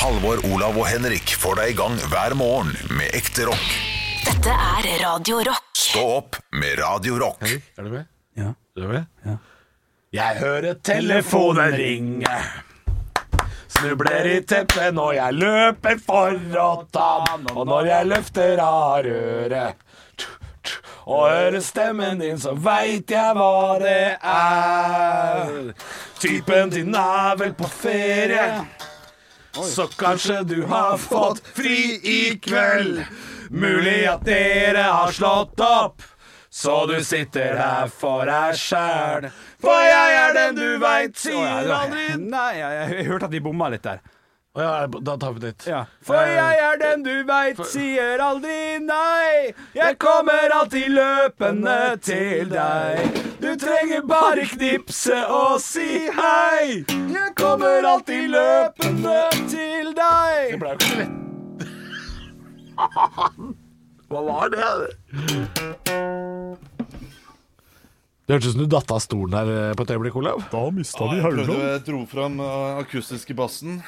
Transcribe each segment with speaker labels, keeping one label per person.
Speaker 1: Halvor, Olav og Henrik får deg i gang hver morgen med ekte rock.
Speaker 2: Dette er Radio Rock.
Speaker 1: Stå opp med Radio Rock.
Speaker 3: Er du med?
Speaker 4: Ja.
Speaker 3: Er du med?
Speaker 4: Ja.
Speaker 3: Jeg hører telefonen ringe. Snubler i teppet når jeg løper for å ta den, og når jeg løfter av røret. Og hører stemmen din, så veit jeg hva det er. Typen din er vel på ferie, så kanskje du har fått fri i kveld. Mulig at dere har slått opp. Så du sitter her for deg sjæl, for jeg er den du veit sier aldri
Speaker 4: Nei, jeg, jeg, hørte at de bomma litt der.
Speaker 3: Å ja, da tar vi nytt. Eh,
Speaker 4: Ja. Eh, For jeg er den du veit sier aldri nei. Jeg kommer alltid løpende til deg. Du trenger bare knipse og si hei. Jeg kommer alltid løpende til deg.
Speaker 3: ble jo ikke lett. Hva var det? Det hørtes ut som du datt av stolen her eh, på et øyeblikk, Olav.
Speaker 5: Da mista de
Speaker 6: Jeg prøvde jeg dro fram uh, akustiske bassen.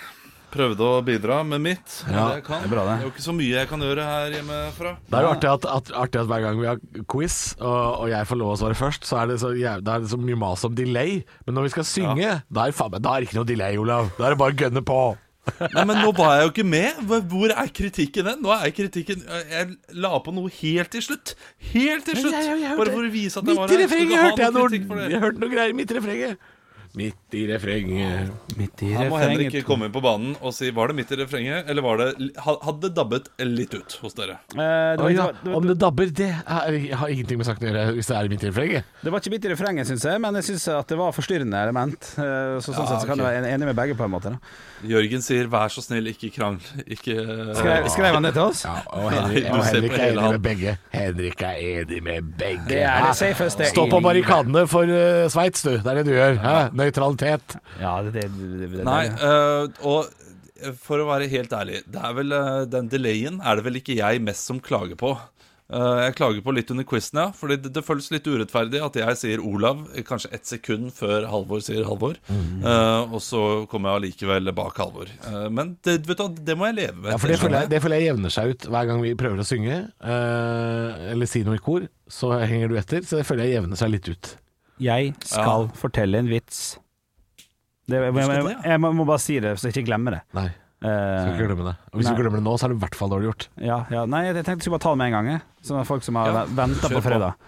Speaker 6: Prøvde å bidra med mitt.
Speaker 3: Ja,
Speaker 6: det, jeg kan.
Speaker 4: det er bra det.
Speaker 6: det er jo ikke så mye jeg kan gjøre her hjemmefra.
Speaker 3: Det er jo artig at, at, artig at hver gang vi har quiz, og, og jeg får lov å svare først, så er det så, jæv- da er det så mye mas om delay. Men når vi skal synge, da, er, faen, meg- da er det ikke noe delay, Olav. Da er det bare å gønne på.
Speaker 6: Nei, men nå var jeg jo ikke med. Hvor- Hvor er kritikken hen? Nå er kritikken Jeg la på noe helt til slutt. Helt til slutt! Bare for å vise at jeg var
Speaker 3: Midt i
Speaker 6: her. Skulle
Speaker 3: refrenget
Speaker 6: ha
Speaker 3: hørte jeg
Speaker 6: noe
Speaker 3: noe,
Speaker 6: kritikk for det.
Speaker 3: jeg hørte noe greier midt i refrenget. Midt i refrenget
Speaker 4: Midt i
Speaker 6: Her må Henrik komme inn på banen og si var det midt i refrenget, eller var det, ha- hadde det dabbet litt ut hos dere?
Speaker 4: Eh, det,
Speaker 3: Oi,
Speaker 4: var,
Speaker 3: da.
Speaker 4: det, var,
Speaker 3: Om det dabber, det er, har ingenting med saken å gjøre hvis det er midt i refrenget.
Speaker 4: det var ikke midt i refrenget, syns jeg, men jeg syns at det var forstyrrende element. Eh, Så sånn sett så kan du
Speaker 6: ok.
Speaker 4: være en- enig med begge, på en måte. Da.
Speaker 6: Jørgen sier 'vær så snill, ikke krangl'. Ikke
Speaker 4: Skrev, skrev han det til oss?
Speaker 3: Ja, og Henrik,
Speaker 6: Nei,
Speaker 3: og
Speaker 6: du ser
Speaker 3: Henrik
Speaker 6: på
Speaker 3: er
Speaker 6: hele
Speaker 3: enig
Speaker 6: han.
Speaker 3: med begge. Henrik er enig med begge.
Speaker 4: Det er det
Speaker 3: Hæ?
Speaker 4: safeste.
Speaker 3: Stå på barrikadene for uh, Sveits, du. Det er det du gjør. Hæ? Nøytralitet.
Speaker 4: Ja, det, det, det, det,
Speaker 6: Nei, øh, og eh, for å være helt ærlig, det er vel, øh, den delayen er det vel ikke jeg mest som klager på. Øh, jeg klager på litt under quizen, ja. Fordi det, det føles litt urettferdig at jeg sier Olav kanskje ett sekund før Halvor sier Halvor.
Speaker 3: Mm.
Speaker 6: Øh, og så kommer jeg allikevel bak Halvor. Øh, men det, vet du, hva, det må jeg leve med.
Speaker 3: Ja, for det føler, jeg, det føler jeg jevner seg ut hver gang vi prøver å synge eh, eller si noe i kor. Så henger du etter. Så det føler jeg jevner seg litt ut.
Speaker 4: Jeg skal fortelle en vits. Det, jeg, jeg,
Speaker 6: skal
Speaker 4: jeg,
Speaker 6: det, ja.
Speaker 4: må, må bare si det, så jeg ikke glemmer det.
Speaker 3: Nei, skal ikke
Speaker 4: Eh,
Speaker 3: glemme det. Og hvis
Speaker 4: Nei.
Speaker 3: du glemmer det nå, så er det i hvert fall dårlig gjort.
Speaker 4: ja, ja, nei, jeg tenkte jeg skulle bare ta det med en gang. jeg. Sånn at folk som har
Speaker 6: Ja,
Speaker 4: venta på
Speaker 6: kjør på.
Speaker 4: fredag.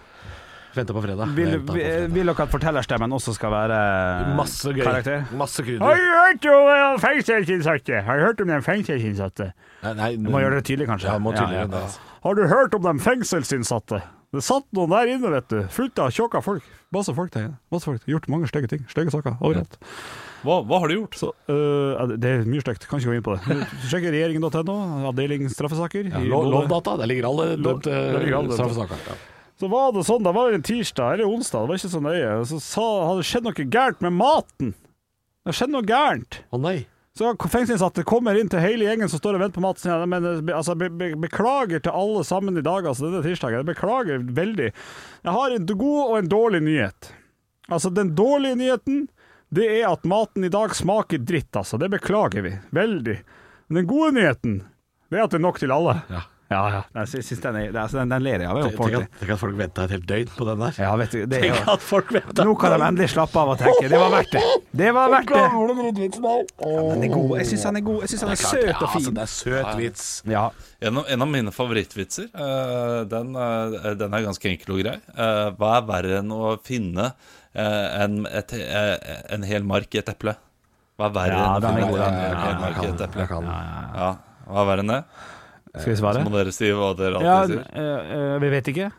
Speaker 3: Venter på fredag.
Speaker 4: Vil,
Speaker 3: Venter på
Speaker 4: vil,
Speaker 3: fredag.
Speaker 4: vil dere at fortellerstemmen også skal være eh,
Speaker 3: Masse gøy.
Speaker 4: karakter?
Speaker 3: Masse
Speaker 7: Har
Speaker 3: krydder.
Speaker 7: du hørt om eh, fengselsinnsatte? Har du hørt om den fengselsinnsatte?
Speaker 3: Nei, nei,
Speaker 4: Du må gjøre det tydelig, kanskje.
Speaker 3: Ja, må tydeligere enn det. altså.
Speaker 7: Har du hørt om den fengselsinnsatte? Det satt noen der inne, vet du. Fullt av tjåka folk. Masse folk der inne. Masse folk. Gjort mange stygge ting. Stygge saker. Overalt.
Speaker 6: Hva, hva har du gjort?
Speaker 7: Så øh, ja, det er mye stygt. Kan ikke gå inn på det. Sjekk regjeringen.no, avdeling straffesaker.
Speaker 3: Ja,
Speaker 7: I
Speaker 3: lov,
Speaker 7: Molde.
Speaker 3: lovdata. Der ligger alle eh,
Speaker 7: Lov-
Speaker 3: dømte
Speaker 7: der ligger alle dømte.
Speaker 3: straffesaker. Ja.
Speaker 7: Så var det sånn, det var en tirsdag eller onsdag, det var ikke så nøye. Så sa, hadde det skjedd noe gærent med maten. Det har skjedd noe gærent.
Speaker 3: Å nei.
Speaker 7: Så fengselsinnsatte kommer inn til hele gjengen som står og venter på mat. sier jeg, Men eh, be- altså, be, be, beklager til alle sammen i dag, altså denne tirsdagen. Jeg beklager veldig. Jeg har en god og en dårlig nyhet. Altså, den dårlige nyheten, det er at maten i dag smaker dritt, altså. Det beklager vi. Veldig. Men den gode nyheten, det er at det er nok til alle.
Speaker 3: Ja.
Speaker 7: Ja, ja.
Speaker 4: Nei, jeg synes den, er, det er- altså, den, den ler jeg av. Jeg, på
Speaker 3: Tenk
Speaker 4: ordentlig.
Speaker 3: at, tenk at folk venta et helt døgn på den der.
Speaker 4: ja, vet du, det er
Speaker 3: Tenk
Speaker 4: jo,
Speaker 3: at folk venta
Speaker 4: nå kan de endelig slappe av og tenke. Det var verdt det. Det var verdt det.
Speaker 3: Den
Speaker 4: Den er god. Jeg syns han er god. Jeg synes han er søt og fin.
Speaker 3: altså, det er søt vits.
Speaker 4: Ja,
Speaker 6: En av, en av mine favorittvitser, eh, den, eh, den er ganske enkel og grei. Eh, hva er verre enn å finne eh, en, et, eh, en hel mark i et eple? Hva er verre
Speaker 4: Ja,
Speaker 6: enn å
Speaker 4: den er
Speaker 6: finne
Speaker 4: god, den.
Speaker 6: en, en hel mark i et eple?
Speaker 3: kan.
Speaker 6: Ja, hva er verre enn det?
Speaker 4: skal vi
Speaker 6: Så
Speaker 4: svare?
Speaker 6: må dere si hva dere
Speaker 4: Ja,
Speaker 6: alltid sier.
Speaker 4: øh, øh, vi vet ikke.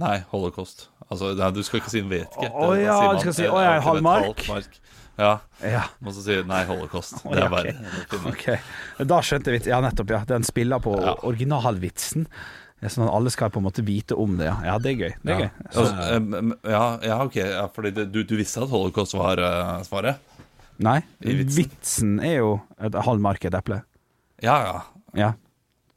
Speaker 6: Nei, holocaust. Altså, nei, du skal ikke si 'vet ikke'.
Speaker 4: Å,
Speaker 6: Det- da
Speaker 4: ja,
Speaker 6: sier
Speaker 4: du
Speaker 6: man,
Speaker 4: skal si,
Speaker 6: eh,
Speaker 4: å, jeg er
Speaker 6: alltid
Speaker 4: halv
Speaker 6: et
Speaker 4: mark.
Speaker 6: halvt Ja,
Speaker 4: Ja.
Speaker 6: må så si 'nei, holocaust'.
Speaker 4: Å,
Speaker 6: Det
Speaker 4: ja,
Speaker 6: er
Speaker 4: ok.
Speaker 6: verre. enn å finne-
Speaker 4: Ok, Da skjønte vi Ja, nettopp, ja. Den spiller på originalvitsen. Det er Sånn at alle skal på en måte vite om det. Ja, ja det er gøy. Det er gøy.
Speaker 6: Altså, em, ja, ja, ok. Ja, fordi det, du, du visste at holocaust var eh, svaret?
Speaker 4: Nei,
Speaker 6: I
Speaker 4: vitsen.
Speaker 6: vitsen.
Speaker 4: er jo et halv mark i et eple.
Speaker 6: Ja, ja.
Speaker 4: Ja.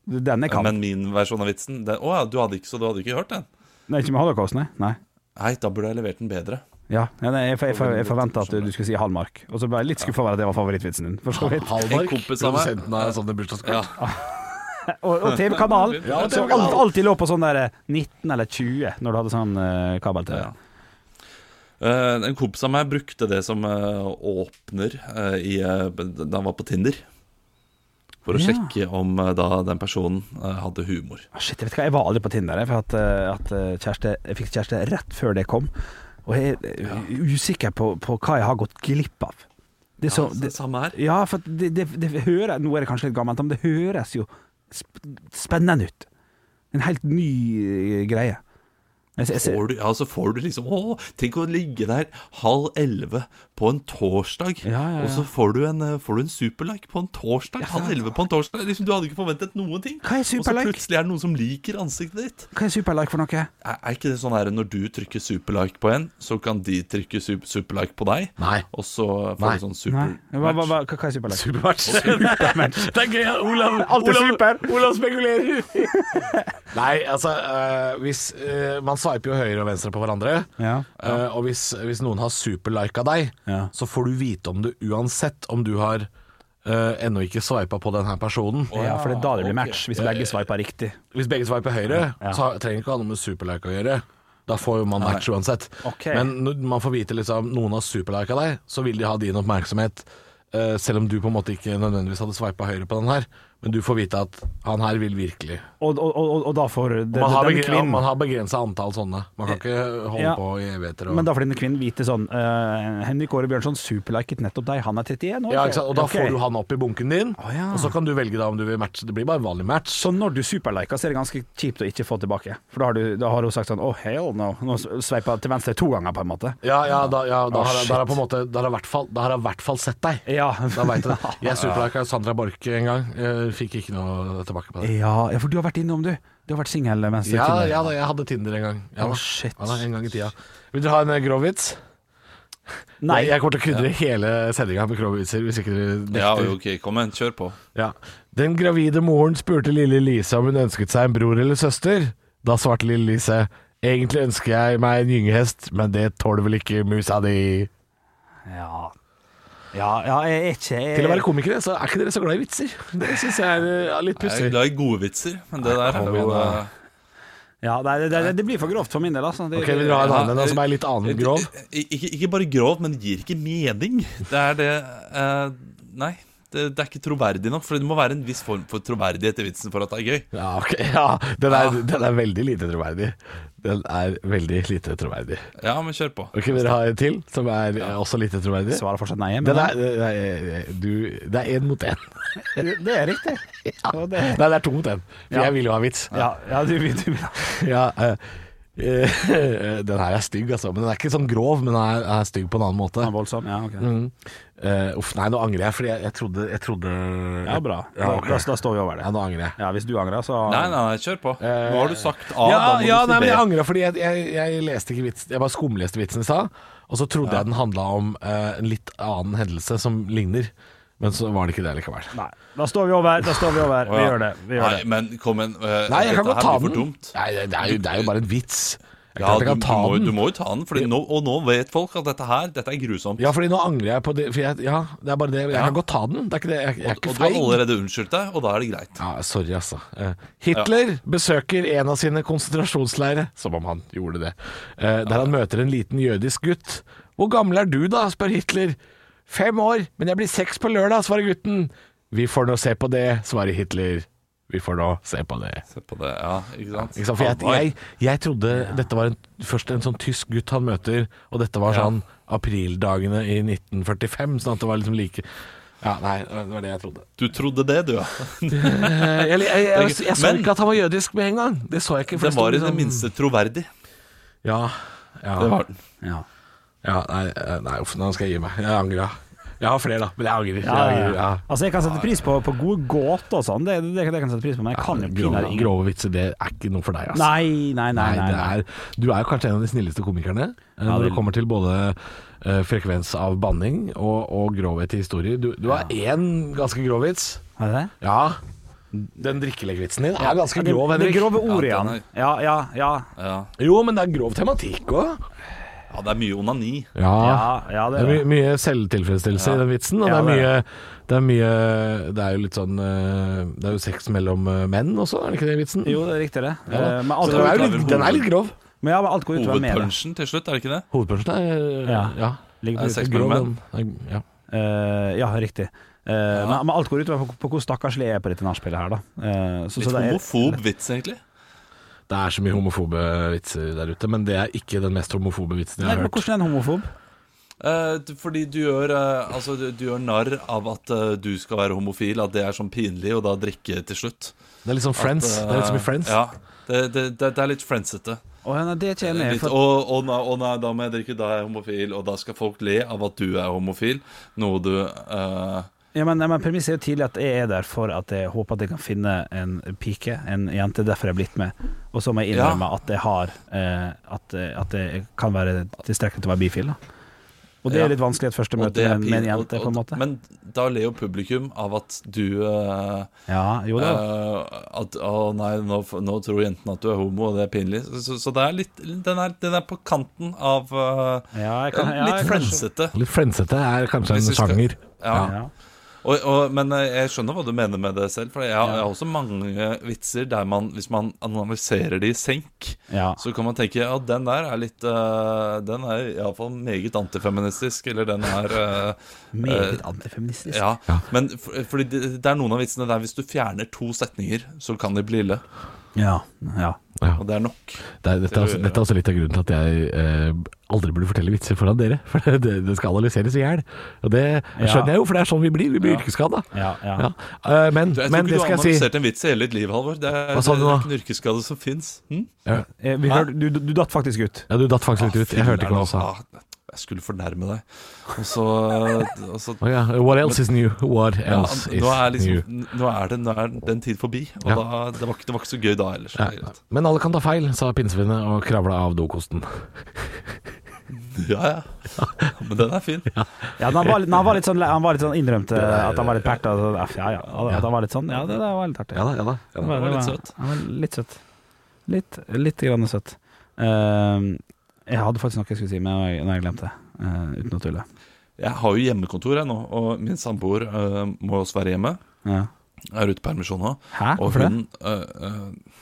Speaker 4: Den er
Speaker 6: Ja,
Speaker 4: kald.
Speaker 6: Men min versjon av vitsen det, Å ja, du hadde ikke, så du hadde ikke hørt den?
Speaker 4: Nei, ikke med holocaust, nei. nei.
Speaker 6: Nei, da burde jeg levert den bedre.
Speaker 4: Ja, ja, nei, jeg, for- jeg, for- jeg forventa at du skulle si Hallmark. Og så ble jeg litt skuffa over at det var favorittvitsen din. For så vidt.
Speaker 3: Hallmark,
Speaker 6: En kompis av meg.
Speaker 3: produsenten av sånne
Speaker 4: sånn
Speaker 3: bursdagskort.
Speaker 6: Ja.
Speaker 4: Og, og TV-kanal.
Speaker 6: Ja,
Speaker 4: som
Speaker 3: TV-kanal.
Speaker 4: alt, alltid lå på sånn der eh, 19 eller 20 når du hadde sånn eh, kabel-TV.
Speaker 6: Ja. Eh, en kompis av meg brukte det som eh, åpner eh, i, eh, da han var på Tinder. For å
Speaker 4: Ja.
Speaker 6: sjekke om eh, da den personen eh, hadde humor.
Speaker 4: Ah, Shit, jeg vet hva, jeg var aldri på Tinder, jeg, for at, eh, at eh, kjæreste, jeg fikk kjæreste rett før det kom. Og jeg er eh, usikker på, på hva jeg har gått glipp av. Det er så,
Speaker 6: Så
Speaker 4: det,
Speaker 6: det samme her.
Speaker 4: ja, for at det, det, det hører, nå er det kanskje litt gammelt, men det høres jo sp- spennende ut. En helt ny eh, greie. Jeg, ser- jeg, ser-
Speaker 6: Får du, ja, så får du liksom Å, tenk å ligge der halv elleve på en torsdag,
Speaker 4: Ja, ja, ja.
Speaker 6: og så får du en, eh, får du en superlike på en torsdag. Halv elleve på en torsdag. Liksom, du hadde ikke forventet noen ting.
Speaker 4: Hva er superlike?
Speaker 6: Og så plutselig er det noen som liker ansiktet ditt.
Speaker 4: hva er superlike for noe?
Speaker 6: Er, er ikke det sånn her når du trykker superlike på en, så kan de trykke su- superlike på deg?
Speaker 3: Nei.
Speaker 6: Og så får
Speaker 3: Nei.
Speaker 6: du sånn
Speaker 4: Nei, hva, hva,
Speaker 6: supermatch.
Speaker 4: hva, hva er superlike?
Speaker 3: Supermatch. det er gøy at Olav,
Speaker 8: Alt er super.
Speaker 3: Olav spekulerer. Nei, altså eh, hvis, eh, Man sveiper jo høyre og venstre på hverandre.
Speaker 4: Ja.
Speaker 3: Eh, og hvis, hvis noen har superlika deg,
Speaker 4: Ja.
Speaker 3: så får du vite om det uansett om du har eh, ennå ikke sveipa på denne personen.
Speaker 4: ja, for det er da det blir match, hvis begge sveiper riktig.
Speaker 3: Hvis begge sveiper høyre, så har- trenger ikke ha noe med superlike å gjøre. Da får jo man match uansett.
Speaker 4: Ok.
Speaker 3: Men når man får vite liksom noen har superlika deg, så vil de ha din oppmerksomhet. eh, selv om du på en måte ikke nødvendigvis hadde sveipa høyre på den her. Men du får vite at han her vil virkelig.
Speaker 4: Og, og, og, og da får det,
Speaker 3: Man har,
Speaker 4: den
Speaker 3: begre
Speaker 4: kvinnen-
Speaker 3: man har begrensa antall sånne. Man kan ikke holde
Speaker 4: Ja.
Speaker 3: på i evigheter. Og...
Speaker 4: Men da får denne kvinnen vite sånn eh, Henrik Åre Bjørnson superliket nettopp deg, han er 31 år.
Speaker 3: ja, ikke sant? Og da
Speaker 4: Ok.
Speaker 3: får du han opp i bunken din,
Speaker 4: Å, ja.
Speaker 3: og så kan du velge da om du vil matche. Det blir bare en vanlig match.
Speaker 4: Så når du superliker, så er det ganske kjipt å ikke få tilbake. For da har, du, da har hun sagt sånn oh hell no. Nå sveipa til venstre to ganger, på en måte.
Speaker 3: Ja, ja, da, ja, da,
Speaker 4: Å,
Speaker 3: har,
Speaker 4: shit.
Speaker 3: da har jeg på en måte Da har jeg i hvert fall- da har jeg i hvert fall sett deg.
Speaker 4: Ja.
Speaker 3: Da vet du det. Jeg superlika Sandra Borch en gang. Jeg fikk ikke noe tilbake på det.
Speaker 4: ja, ja, for du har vært innom, du. Du har vært singel eh, mens du
Speaker 3: Ja,
Speaker 4: Tinder.
Speaker 3: ja da, jeg hadde Tinder en gang. Ja,
Speaker 4: Å,
Speaker 3: da.
Speaker 4: shit.
Speaker 3: Ja, da, en gang i tida. Vil dere ha en eh, grov vits?
Speaker 4: Nei.
Speaker 3: Jeg kommer til å krydre hele sendinga med grove vitser hvis ikke dere
Speaker 6: Ja,
Speaker 3: nekter.
Speaker 6: ok, kom igjen, kjør på.
Speaker 3: Ja. Den gravide moren spurte lille Lise om hun ønsket seg en bror eller søster. Da svarte lille Lise Egentlig ønsker jeg meg en gyngehest, men det tåler vel ikke musa di.
Speaker 4: Ja. Ja, ja, jeg er ikke jeg,
Speaker 3: Til å være komikere, så er ikke dere så glad i vitser. Det syns jeg er eh, litt
Speaker 6: Jeg er
Speaker 3: pussig.
Speaker 6: glad i gode vitser, men det der er
Speaker 3: kom
Speaker 6: jo
Speaker 3: igjen,
Speaker 6: eh,
Speaker 4: ja, det, det, det, det blir for grovt for min del, altså. Det,
Speaker 3: Ok, Vil dere ha en annen en som er litt annen grov?
Speaker 6: Ikke, eh, ikke bare grov, men gir ikke mening. Det er det eh, Nei. Det, det er ikke troverdig nok, for det må være en viss form for troverdighet i vitsen for at det er gøy.
Speaker 3: Ja, ok. ja den, er, den er veldig lite troverdig. Den er veldig lite troverdig.
Speaker 6: Ja, men kjør på.
Speaker 3: Ok, Vil dere ha en til som er eh, også lite troverdig?
Speaker 4: Svarer fortsatt nei, men
Speaker 3: Den er, nei, eh, du, det er én mot én.
Speaker 4: det, det er riktig. Og det,
Speaker 3: Nei, det er to mot én. For
Speaker 4: Ja.
Speaker 3: jeg vil jo ha vits.
Speaker 4: ja, ja, du, du vil ha
Speaker 3: Ja, eh, eh, den her er stygg, altså. Men den er ikke sånn grov, men den er, den er stygg på en annen måte.
Speaker 4: den voldsom? Ja, ok.
Speaker 3: Mm. Eh, uff, nei, nå angrer jeg, fordi jeg, jeg trodde, jeg trodde
Speaker 4: Ja, bra. Da,
Speaker 3: ok.
Speaker 4: da, da står vi over det.
Speaker 3: Ja, nå angrer jeg.
Speaker 4: Ja, hvis du angrer, så
Speaker 6: Nei, nei, nei, kjør på. Nå har du sagt A.
Speaker 3: Eh, Ja,
Speaker 6: da må
Speaker 3: ja
Speaker 6: du si
Speaker 3: nei, men
Speaker 6: B.
Speaker 3: jeg angra fordi jeg, jeg, jeg leste ikke vitsen Jeg bare skumleste vitsen i stad, og så trodde jeg den handla om eh, en litt annen hendelse som ligner. Men så var det ikke det likevel.
Speaker 4: Nei. Da står vi over, da står vi over. Vi
Speaker 6: Ja.
Speaker 4: gjør det. Vi gjør
Speaker 6: Nei,
Speaker 4: det.
Speaker 6: men kom igjen. eh,
Speaker 3: Nei, jeg kan
Speaker 6: dette
Speaker 3: godt ta
Speaker 6: her blir for
Speaker 3: den.
Speaker 6: dumt.
Speaker 3: Nei, det, det, er jo, det er jo bare en vits. Jeg
Speaker 6: Ja,
Speaker 3: klart jeg
Speaker 6: du, du,
Speaker 3: kan ta
Speaker 6: må, du
Speaker 3: den.
Speaker 6: må jo ta den, fordi nå, og nå vet folk at dette her dette er grusomt.
Speaker 3: Ja, fordi nå angrer jeg på det. For jeg, ja, det er bare det. Jeg
Speaker 6: Ja.
Speaker 3: kan godt ta den. Det er ikke det. Jeg, jeg er
Speaker 6: og
Speaker 3: ikke
Speaker 6: du har
Speaker 3: feig.
Speaker 6: allerede unnskyldt deg, og da er det greit.
Speaker 3: Ja, sorry, altså. Eh, Hitler besøker en av sine konsentrasjonsleirer, som om han gjorde det, eh, der han møter en liten jødisk gutt. Hvor gammel er du da, spør Hitler. Fem år, men jeg blir seks på lørdag, svarer gutten. Vi får nå se på det, svarer Hitler. Vi får nå se på det.
Speaker 6: Se på det, ja, ikke sant?
Speaker 3: Ikke sant? For jeg, jeg, jeg trodde dette var en, først en sånn tysk gutt han møter, og dette var sånn aprildagene i 1945, sånn at det var liksom like Ja, nei, det var det jeg trodde.
Speaker 6: Du trodde det, du, ja.
Speaker 3: Eh, Jeg, jeg, jeg, jeg, så
Speaker 6: Men-
Speaker 3: ikke at han var jødisk med en gang. Det så jeg ikke. for
Speaker 6: Det
Speaker 3: sto
Speaker 6: var i det
Speaker 3: liksom-
Speaker 6: minste troverdig.
Speaker 3: Ja. ja.
Speaker 6: Det var den.
Speaker 4: Ja.
Speaker 3: ja nei, eh, nei, uff, nå skal jeg gi meg. Jeg angrer. Jeg har flere, da, men jeg angrer.
Speaker 4: Ja,
Speaker 3: Jeg
Speaker 4: ja,
Speaker 3: angrer,
Speaker 4: ja.
Speaker 3: ja.
Speaker 4: Altså, jeg kan sette pris på, på gode gåter og sånn. Det, det, det kan jeg sette pris på, men jeg kan jo pinadø
Speaker 3: Grove,
Speaker 4: ingen
Speaker 3: grove vitser, det er ikke noe for deg, altså.
Speaker 4: Nei, nei, nei.
Speaker 3: Nei,
Speaker 4: nei,
Speaker 3: det
Speaker 4: nei.
Speaker 3: er, du er jo kanskje en av de snilleste komikerne eh, når
Speaker 4: det-
Speaker 3: det kommer til både eh, frekvens av banning og, og grovhet i historier. Du, du har én ganske grov vits.
Speaker 4: Er det det?
Speaker 3: Ja. Den drikkeleggvitsen din er ganske
Speaker 4: Ja, det-
Speaker 3: grov,
Speaker 4: Det
Speaker 3: Henrik.
Speaker 4: grove ordet
Speaker 6: Ja,
Speaker 4: igjen.
Speaker 6: den
Speaker 4: Ja, ja, ja.
Speaker 6: Ja.
Speaker 3: Jo, men det er grov tematikk òg.
Speaker 6: Ja, det er mye onani.
Speaker 4: Ja, ja, det
Speaker 3: Det
Speaker 4: er
Speaker 3: er
Speaker 4: det.
Speaker 3: my mye selvtilfredsstillelse i den vitsen, og
Speaker 4: Ja,
Speaker 3: det, er
Speaker 4: det
Speaker 3: mye,
Speaker 4: er
Speaker 3: det er mye Det er jo litt sånn eh, Det er jo sex mellom eh, menn også, er det ikke det vitsen?
Speaker 4: Jo, det er riktig, det.
Speaker 3: Ja, da.
Speaker 4: Eh,
Speaker 3: Så
Speaker 4: men, alt
Speaker 3: den
Speaker 4: går
Speaker 3: er,
Speaker 4: ut,
Speaker 3: jo litt, den er litt grov.
Speaker 4: men ja, men alt går ut over media.
Speaker 6: Hovedpunchen til slutt, er det ikke det?
Speaker 3: Hovedpunsjen er ja.
Speaker 4: Ja.
Speaker 3: ja.
Speaker 4: Ligger
Speaker 6: Er
Speaker 4: på
Speaker 6: det sex
Speaker 4: ute.
Speaker 3: Grov,
Speaker 6: mellom menn?
Speaker 3: den er- ja.
Speaker 4: Eh, ja, riktig. Eh, Men, men alt går ut over på, på hvor stakkarslig jeg er på dette nachspielet her, da. Eh, så, så det
Speaker 6: Litt
Speaker 4: er-
Speaker 6: homofob vits, egentlig.
Speaker 3: Det er så mye homofobe vitser der ute, men det er ikke den mest homofobe vitsen jeg
Speaker 4: Nei,
Speaker 3: har
Speaker 4: men
Speaker 3: hørt.
Speaker 4: hvordan er en homofob?
Speaker 6: Eh, du- fordi du gjør, eh, altså, du, du gjør narr av at eh, du skal være homofil, at det er sånn pinlig, og da drikke til slutt.
Speaker 3: Det er litt sånn Friends.
Speaker 6: At, eh,
Speaker 3: Det er litt som i Friends.
Speaker 6: Ja, det, det, det, det er litt friendsete.
Speaker 4: Å, nei, det er ikke jeg med
Speaker 6: Litt,
Speaker 4: for,
Speaker 6: og, og, nei, og nei, da må jeg drikke, da er jeg homofil, og da skal folk le av at du er homofil, noe du eh,
Speaker 4: ja, men, nei, men Premisset er jo tidlig at jeg er der for at jeg håper at jeg kan finne en pike, en jente. Derfor jeg er blitt med. Og så må jeg
Speaker 6: Ja.
Speaker 4: innrømme at jeg har eh, at, at jeg kan være tilstrekkelig til å være bifil. Da. Og det
Speaker 6: Ja.
Speaker 4: er litt vanskelig et første
Speaker 6: og
Speaker 4: møte
Speaker 6: det er
Speaker 4: med, en- med en
Speaker 6: pin- og-
Speaker 4: jente, på en
Speaker 6: og-
Speaker 4: måte.
Speaker 6: Men da ler jo publikum av at du eh,
Speaker 4: Ja, jo da.
Speaker 6: Eh, at å nei, nå, f- nå tror jenten at du er homo, og det er pinlig. Så, så, så det er litt, den, er, den er på kanten av eh,
Speaker 4: Ja, jeg kan- ja,
Speaker 6: eh,
Speaker 4: jeg
Speaker 6: Litt
Speaker 4: kan-
Speaker 6: friendsete.
Speaker 3: Litt Friendsete er kanskje
Speaker 6: Hvis
Speaker 3: en
Speaker 6: vi skal-
Speaker 3: sjanger.
Speaker 6: Ja.
Speaker 4: Ja.
Speaker 6: Og, og, men eh, jeg skjønner hva du mener med det selv. For jeg, har- jeg har også mange vitser der man, hvis man analyserer de i senk,
Speaker 4: Ja.
Speaker 6: så kan man tenke at den der er litt eh, Den er iallfall meget antifeministisk, eller den er eh,
Speaker 4: Meget
Speaker 6: eh,
Speaker 4: antifeministisk.
Speaker 6: ja, men for, fordi det, det er noen av vitsene der hvis du fjerner to setninger, så kan de bli ille.
Speaker 4: Ja, ja.
Speaker 6: Og det er nok.
Speaker 3: Det er, dette, er også, dette er også litt av grunnen til at jeg eh, aldri burde fortelle vitser foran dere. For det, det skal analyseres i hjel. Og det skjønner jeg jo, for det er sånn vi blir. Vi blir yrkesskada.
Speaker 4: Ja, ja.
Speaker 3: Eh, men,
Speaker 6: Jeg tror
Speaker 3: men det
Speaker 6: ikke du har
Speaker 3: skal jeg si.
Speaker 6: analysert en vits i hele ditt liv, Halvor. Det er,
Speaker 3: Hva sa du
Speaker 6: det
Speaker 3: nå?
Speaker 6: er ikke en yrkesskade som fins. Hm?
Speaker 4: Eh, Vi hørte, du, du datt faktisk ut.
Speaker 3: Ja, du datt faktisk litt ut. Jeg hørte
Speaker 6: Filler'n,
Speaker 3: ikke hva du sa.
Speaker 6: altså. Ah, Jeg skulle fornærme deg. Og så, og så
Speaker 3: Å ja. What else is new? What
Speaker 6: ja,
Speaker 3: else
Speaker 6: nå, er
Speaker 3: is new?
Speaker 6: liksom, nå, er det, nå er den tid forbi, og
Speaker 3: Ja.
Speaker 6: da, det, var ikke, det var ikke så gøy da ellers.
Speaker 3: Nei,
Speaker 6: Det er
Speaker 3: nei.
Speaker 6: greit.
Speaker 3: Men alle kan ta feil, sa pinnsvinet og kravla av dokosten.
Speaker 6: Ja, ja. Men den er fin.
Speaker 4: Ja, men han, var litt, han, var litt sånn, han var litt sånn innrømt eh, at han var litt pert. Altså, ja, ja, at han var litt sånn. Ja, det, det var litt artig.
Speaker 3: da, ja da.
Speaker 4: Han
Speaker 6: det var litt søt.
Speaker 4: Han var litt søt. Litt, litt grann søt. Ehm, jeg hadde faktisk noe jeg skulle si, men jeg, nå har jeg glemt det. eh, uten å tulle.
Speaker 6: Jeg har jo hjemmekontor jeg nå, og min samboer øh, må også være hjemme.
Speaker 4: Ja.
Speaker 6: Jeg er ute på permisjon nå.
Speaker 4: Hæ,
Speaker 6: Og
Speaker 4: hvorfor det?
Speaker 6: hun øh, øh,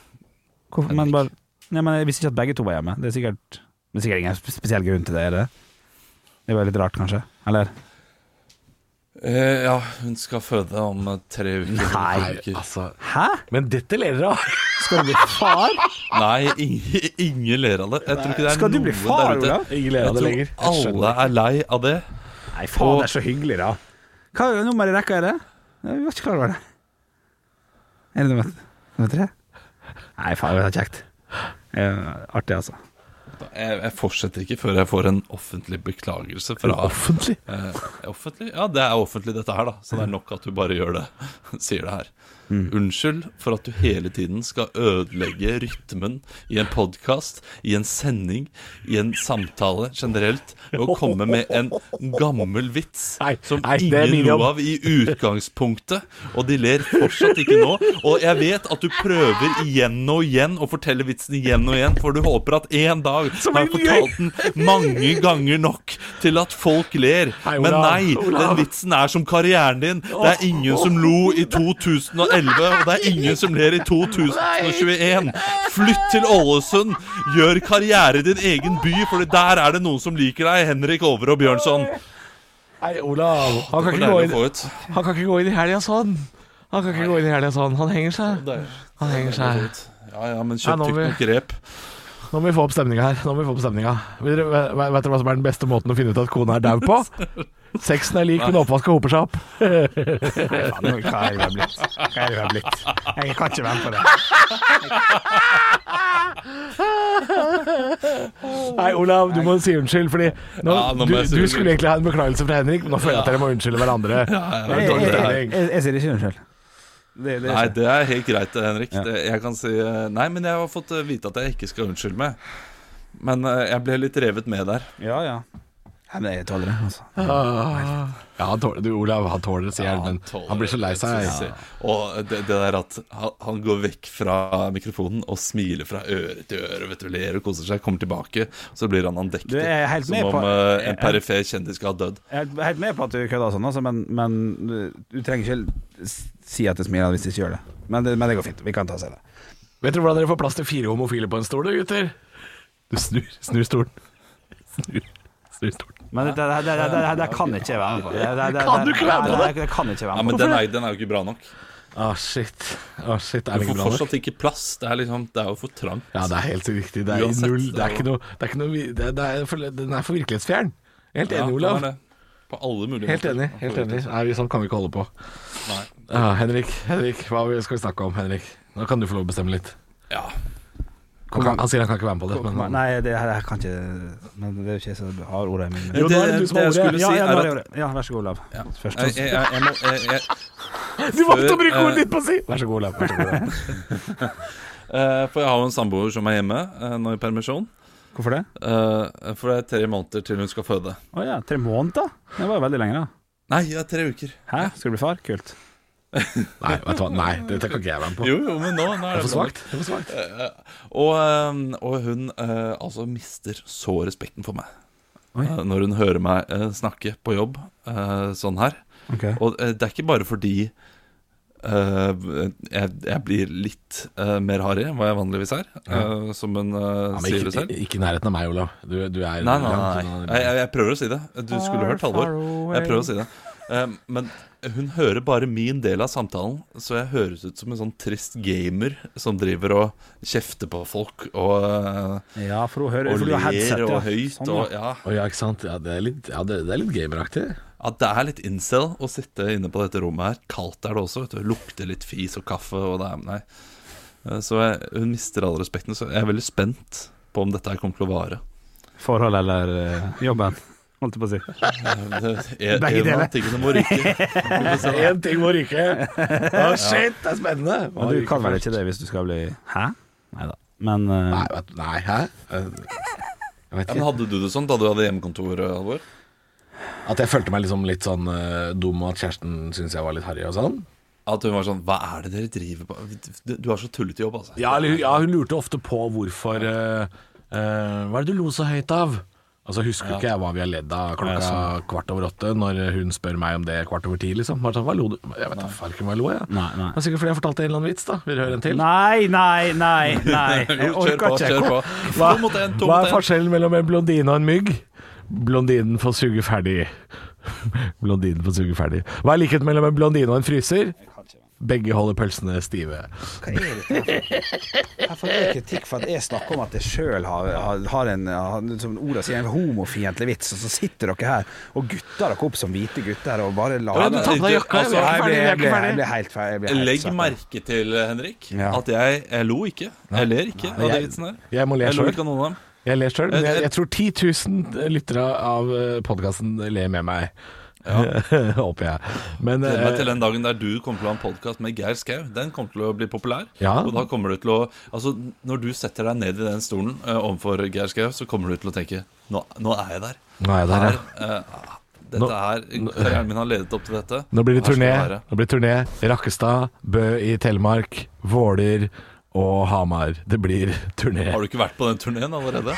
Speaker 4: Hvorfor, men, bare, nei, men Jeg visste ikke at begge to var hjemme. Det er sikkert, det er sikkert ingen sp- spesiell grunn til det, er det? Det var litt rart, kanskje? Eller?
Speaker 6: øh, Ja, hun skal føde om øh, tre uker.
Speaker 4: Nei,
Speaker 6: Uker.
Speaker 3: Altså,
Speaker 4: Hæ?
Speaker 3: men dette ler dere av!
Speaker 4: Skal du bli far?
Speaker 6: Nei, ingen, ingen ler av det. Jeg tror ikke det er
Speaker 4: Skal du bli
Speaker 6: noen
Speaker 4: far,
Speaker 6: der ute.
Speaker 4: Olav?
Speaker 3: Ingen ler av det
Speaker 6: Jeg
Speaker 3: lenger.
Speaker 6: tror alle er lei av det.
Speaker 4: Nei, faen, det er så hyggelig, da. Hva nummer i rekka er det? Jeg var ikke klar over det. Er det nummer, nummer tre? Nei, faen, det var kjekt. Eh, Artig, altså.
Speaker 6: Jeg, jeg fortsetter ikke før jeg får en offentlig beklagelse fra
Speaker 3: Offentlig.
Speaker 6: eh, Offentlig? Ja, det er offentlig dette her, da. Så det er nok at du bare gjør det. Sier det her.
Speaker 3: Mm.
Speaker 6: Unnskyld for at du hele tiden skal ødelegge rytmen i en podkast, i en sending, i en samtale generelt, ved å komme med en gammel vits
Speaker 3: Nei,
Speaker 6: som
Speaker 3: nei, det er
Speaker 6: ingen
Speaker 3: min jobb.
Speaker 6: lo av i utgangspunktet. Og de ler fortsatt ikke nå. Og jeg vet at du prøver igjen og igjen å fortelle vitsen igjen og igjen, for du håper at en dag har jeg fortalt den mange ganger nok til at folk ler.
Speaker 3: Hei,
Speaker 6: Men
Speaker 3: Olav.
Speaker 6: nei,
Speaker 3: Olav.
Speaker 6: den vitsen er som karrieren din. Det er ingen som lo i 2011, og det er ingen som ler i 2021. Flytt til Ålesund. Gjør karriere i din egen by, for der er det noen som liker deg. Henrik Over og Bjørnson.
Speaker 3: Nei, Olav. Han kan,
Speaker 6: Det
Speaker 3: ikke
Speaker 6: var
Speaker 3: gå
Speaker 6: deilig
Speaker 3: inn,
Speaker 6: å få ut.
Speaker 3: han kan ikke gå inn i helga sånn. Han kan ikke gå inn i helga sånn. Han henger seg.
Speaker 6: Det er-
Speaker 3: Han henger
Speaker 6: det er
Speaker 3: seg.
Speaker 6: godt. Ja, ja, men
Speaker 3: Ja,
Speaker 6: kjøp
Speaker 3: nå
Speaker 6: tykt
Speaker 3: må
Speaker 6: nok grep.
Speaker 3: Nå må vi få opp stemninga her. Nå må vi få opp stemninga. Vet dere vet- vet dere hva som er den beste måten å finne ut at kona er dau på? Sexen er lik, men oppvasken hoper seg opp.
Speaker 4: Nei, faen, nå- hva er det jeg har blitt? Hva er det jeg har blitt? Jeg kan ikke være med på det.
Speaker 3: Nei, Olav, du må si unnskyld, fordi nå,
Speaker 6: Ja, nå må
Speaker 3: du,
Speaker 6: jeg si
Speaker 3: du
Speaker 6: unnskyld.
Speaker 3: skulle egentlig ha en beklagelse fra Henrik, men nå føler jeg at dere må unnskylde hverandre. Det er
Speaker 4: Jeg,
Speaker 3: dårlig
Speaker 4: jeg,
Speaker 3: stemning.
Speaker 4: jeg, jeg, jeg sier ikke unnskyld. Det, det
Speaker 6: Nei, det er helt greit, Henrik. Det, jeg kan si eh, Nei, men jeg har fått eh, vite at jeg ikke skal unnskylde meg. Men eh, jeg ble litt revet med der.
Speaker 4: Ja, ja. Nei, men jeg tåler det, altså.
Speaker 3: Ja, han tåler, du, Olav, han tåler det, sier han, men
Speaker 6: tåler
Speaker 3: han blir så lei
Speaker 6: det,
Speaker 3: seg.
Speaker 6: synes jeg. Og det, det der at han, han går vekk fra mikrofonen og smiler fra øre til øre, vet du, ler og koser seg, kommer tilbake, så blir han andektig.
Speaker 4: Du, jeg er helt
Speaker 6: Som
Speaker 4: med
Speaker 6: om
Speaker 4: på-
Speaker 6: eh,
Speaker 4: jeg-
Speaker 6: en perifer kjendis skal ha dødd.
Speaker 4: Jeg er helt- helt med på at du kødder og sånn, altså, men, men du- du trenger ikke s- si at jeg smiler hvis du ikke gjør det. Men det, men det går fint. Vi kan ta oss i det.
Speaker 3: Vet dere hvordan dere får plass til fire homofile på en stol, da, gutter? Du snur, snur stolen. Snur, snur stolen.
Speaker 4: Men det, det, det, det, det, det, det kan ikke jeg være med på. Det, det, det,
Speaker 3: Kan du ikke være med på det?
Speaker 4: det? Det kan ikke jeg
Speaker 6: Ja,
Speaker 4: være med
Speaker 6: men
Speaker 4: på.
Speaker 6: den er, den er jo ikke bra nok.
Speaker 3: Å, shit. Å, shit, er
Speaker 6: Du
Speaker 3: det ikke
Speaker 6: får
Speaker 3: bra nok?
Speaker 6: fortsatt ikke plass. Det er, liksom, det er jo for trangt.
Speaker 3: Ja, det er helt riktig. Det er,
Speaker 6: Uansett,
Speaker 3: null,
Speaker 6: det
Speaker 3: det
Speaker 6: er
Speaker 3: er ikke noe, det er ikke noe vi- det, det er for, Den er for virkelighetsfjern. Helt
Speaker 6: Ja,
Speaker 3: enig,
Speaker 6: den
Speaker 3: Olav.
Speaker 6: er det. På alle mulige
Speaker 3: Helt
Speaker 6: måter.
Speaker 3: enig. helt enig Nei, vi- Sånn kan vi ikke holde på.
Speaker 6: Nei.
Speaker 3: Ja, Henrik, Henrik, hva skal vi snakke om? Henrik Nå kan du få lov å bestemme litt.
Speaker 6: Ja.
Speaker 3: Han, kan, han sier han kan ikke være med på det. Men,
Speaker 4: Nei, det her jeg kan ikke Men det er jo ikke jeg som har ordet i munnen.
Speaker 6: Det, det, jeg skulle si,
Speaker 4: ja, ja, nå
Speaker 6: er
Speaker 4: har
Speaker 6: at
Speaker 4: jeg ordet. ja, vær så god, Olav. Først.
Speaker 6: jeg, jeg, jeg, må, jeg, jeg,
Speaker 3: du valgte å bruke
Speaker 4: Eh,
Speaker 6: Før,
Speaker 3: ordet ditt på å si! Vær så god, Olav. Vær så god, Olav.
Speaker 6: eh, For jeg har jo en samboer som er hjemme eh, nå i permisjon.
Speaker 4: Hvorfor det?
Speaker 6: Eh, for det er tre måneder til hun skal føde.
Speaker 4: Å ja, tre måneder? Det var jo veldig lenge, da.
Speaker 6: Nei, det er tre uker.
Speaker 4: Hæ, skal du bli far? Kult.
Speaker 3: Nei, vet du hva? Nei, dette kan ikke jeg være med på.
Speaker 6: Jo, jo, men nå, nå
Speaker 3: Det
Speaker 6: er
Speaker 3: er
Speaker 6: det
Speaker 3: for
Speaker 6: bra.
Speaker 3: svakt. Det er for svakt.
Speaker 6: Og, eh, og hun eh, altså mister så respekten for meg. Eh, når hun hører meg eh, snakke på jobb eh, sånn her.
Speaker 4: Ok.
Speaker 6: Og eh, det er ikke bare fordi eh, jeg, jeg blir litt eh, mer harry enn hva jeg vanligvis er, eh, som hun eh,
Speaker 3: Ja, men
Speaker 6: sier det
Speaker 3: ikke,
Speaker 6: selv.
Speaker 3: ikke i nærheten av meg, Olav. Du, du er
Speaker 6: Nei, nei,
Speaker 3: langt
Speaker 6: nei.
Speaker 3: unna-
Speaker 6: Jeg, jeg, jeg prøver å si det. Du skulle hørt Halvor. Jeg prøver å si det. Um, men hun hører bare min del av samtalen, så jeg høres ut som en sånn trist gamer som driver og kjefter på folk og, uh,
Speaker 4: Ja, for hun hører
Speaker 6: og
Speaker 4: for du har headset,
Speaker 6: ler og
Speaker 4: ja.
Speaker 6: høyt.
Speaker 4: Sånn,
Speaker 6: og,
Speaker 4: ja.
Speaker 6: ja.
Speaker 3: Å ja, ikke sant. Ja, det er litt, ja, det, det er litt gameraktig.
Speaker 6: ja, det er litt incel å sitte inne på dette rommet her. Kaldt er det også. Vet du. Lukter litt fis og kaffe og det er Nei. Uh, Så jeg, hun mister all respekten. Så jeg er veldig spent på om dette her kommer til å vare.
Speaker 4: Forhold eller eh, jobben, holdt jeg på å si.
Speaker 6: En
Speaker 4: Begge
Speaker 6: en
Speaker 4: deler.
Speaker 6: av tingene må ryke.
Speaker 3: Én ting må ryke. Å, shit, det er spennende. Hva
Speaker 4: Men du
Speaker 3: ryker
Speaker 4: kan vel
Speaker 3: først?
Speaker 4: ikke det hvis du skal bli Hæ? Nei da. Men eh,
Speaker 3: Nei, vet- nei, hæ? Eh, Jeg vet
Speaker 6: Ja, men
Speaker 3: ikke.
Speaker 6: hadde du det sånn da du hadde hjemmekontor, Halvor?
Speaker 3: At jeg følte meg liksom litt sånn eh, dum, og at kjæresten syntes jeg var litt harry og sånn.
Speaker 6: At hun var sånn Hva er det dere driver på? Du, du har så tullete jobb, altså.
Speaker 3: Ja, eller, ja, hun lurte ofte på hvorfor eh, eh, Hva er det du lo så høyt av? Altså Husker ikke jeg hva vi har ledd av klokka kvart over åtte, når hun spør meg om det kvart over ti, liksom. Bare sånn, hva lo du? Jeg vet da faen ikke om jeg lo, jeg.
Speaker 4: Nei, nei.
Speaker 3: Det er sikkert fordi jeg fortalte en eller annen vits, da. Vil du høre en til?
Speaker 4: Nei, nei, nei, nei.
Speaker 6: Jo,
Speaker 4: Jeg
Speaker 6: kjør på,
Speaker 4: orker ikke.
Speaker 6: kjør på.
Speaker 3: Hva,
Speaker 6: To mot en, to
Speaker 3: hva
Speaker 6: mot
Speaker 3: er
Speaker 6: en.
Speaker 3: forskjellen mellom en blondine og en mygg? Blondinen får suge ferdig. blondinen får suge ferdig. Hva er likheten mellom en blondine og en fryser? Begge holder pølsene stive.
Speaker 4: Jeg får kritikk for at jeg snakker om at jeg sjøl har, har, har en har, som ordet sier, en homofiendtlig vits, og så sitter dere her og gutter dere opp som hvite gutter og bare
Speaker 6: Ja,
Speaker 4: lager
Speaker 6: men
Speaker 4: det.
Speaker 3: Ta på deg sånn? jakka,
Speaker 6: Altså,
Speaker 3: vi er
Speaker 4: Jeg
Speaker 3: ikke
Speaker 4: blir,
Speaker 3: ferdig, vi er ikke ferdig.
Speaker 4: jeg blir, jeg blir helt feil. jeg blir helt
Speaker 6: Legg
Speaker 4: satt ut.
Speaker 6: merke til, eh, Henrik,
Speaker 4: Ja.
Speaker 6: at jeg, jeg lo ikke. Jeg ler ikke av
Speaker 3: jeg-
Speaker 6: den vitsen her.
Speaker 3: jeg må le
Speaker 6: jeg lo
Speaker 3: selv.
Speaker 6: ikke av noen av dem.
Speaker 3: Jeg ler sjøl, men
Speaker 6: Eh,
Speaker 3: jeg,
Speaker 6: eh.
Speaker 3: jeg tror 10 000 lyttere av podkasten ler med meg. Håper jeg. Men
Speaker 6: Gleder meg
Speaker 3: eh,
Speaker 6: til den dagen der du kommer til å ha en podkast med Geir Skau. Den kommer til å bli populær.
Speaker 3: Ja.
Speaker 6: Og da kommer du til å Altså, når du setter deg ned i den stolen eh, overfor Geir Skau, så kommer du til å tenke Nå, nå er jeg der.
Speaker 3: nå er jeg der,
Speaker 6: Her,
Speaker 3: ja.
Speaker 6: eh, dette her Karrieren min har ledet opp til dette.
Speaker 3: Nå blir det
Speaker 6: Her skal
Speaker 3: turné.
Speaker 6: jeg være.
Speaker 3: Nå blir det turné. Rakkestad, Bø i Telemark, Våler og Hamar. Det blir turné.
Speaker 6: Har du ikke vært på den turneen allerede?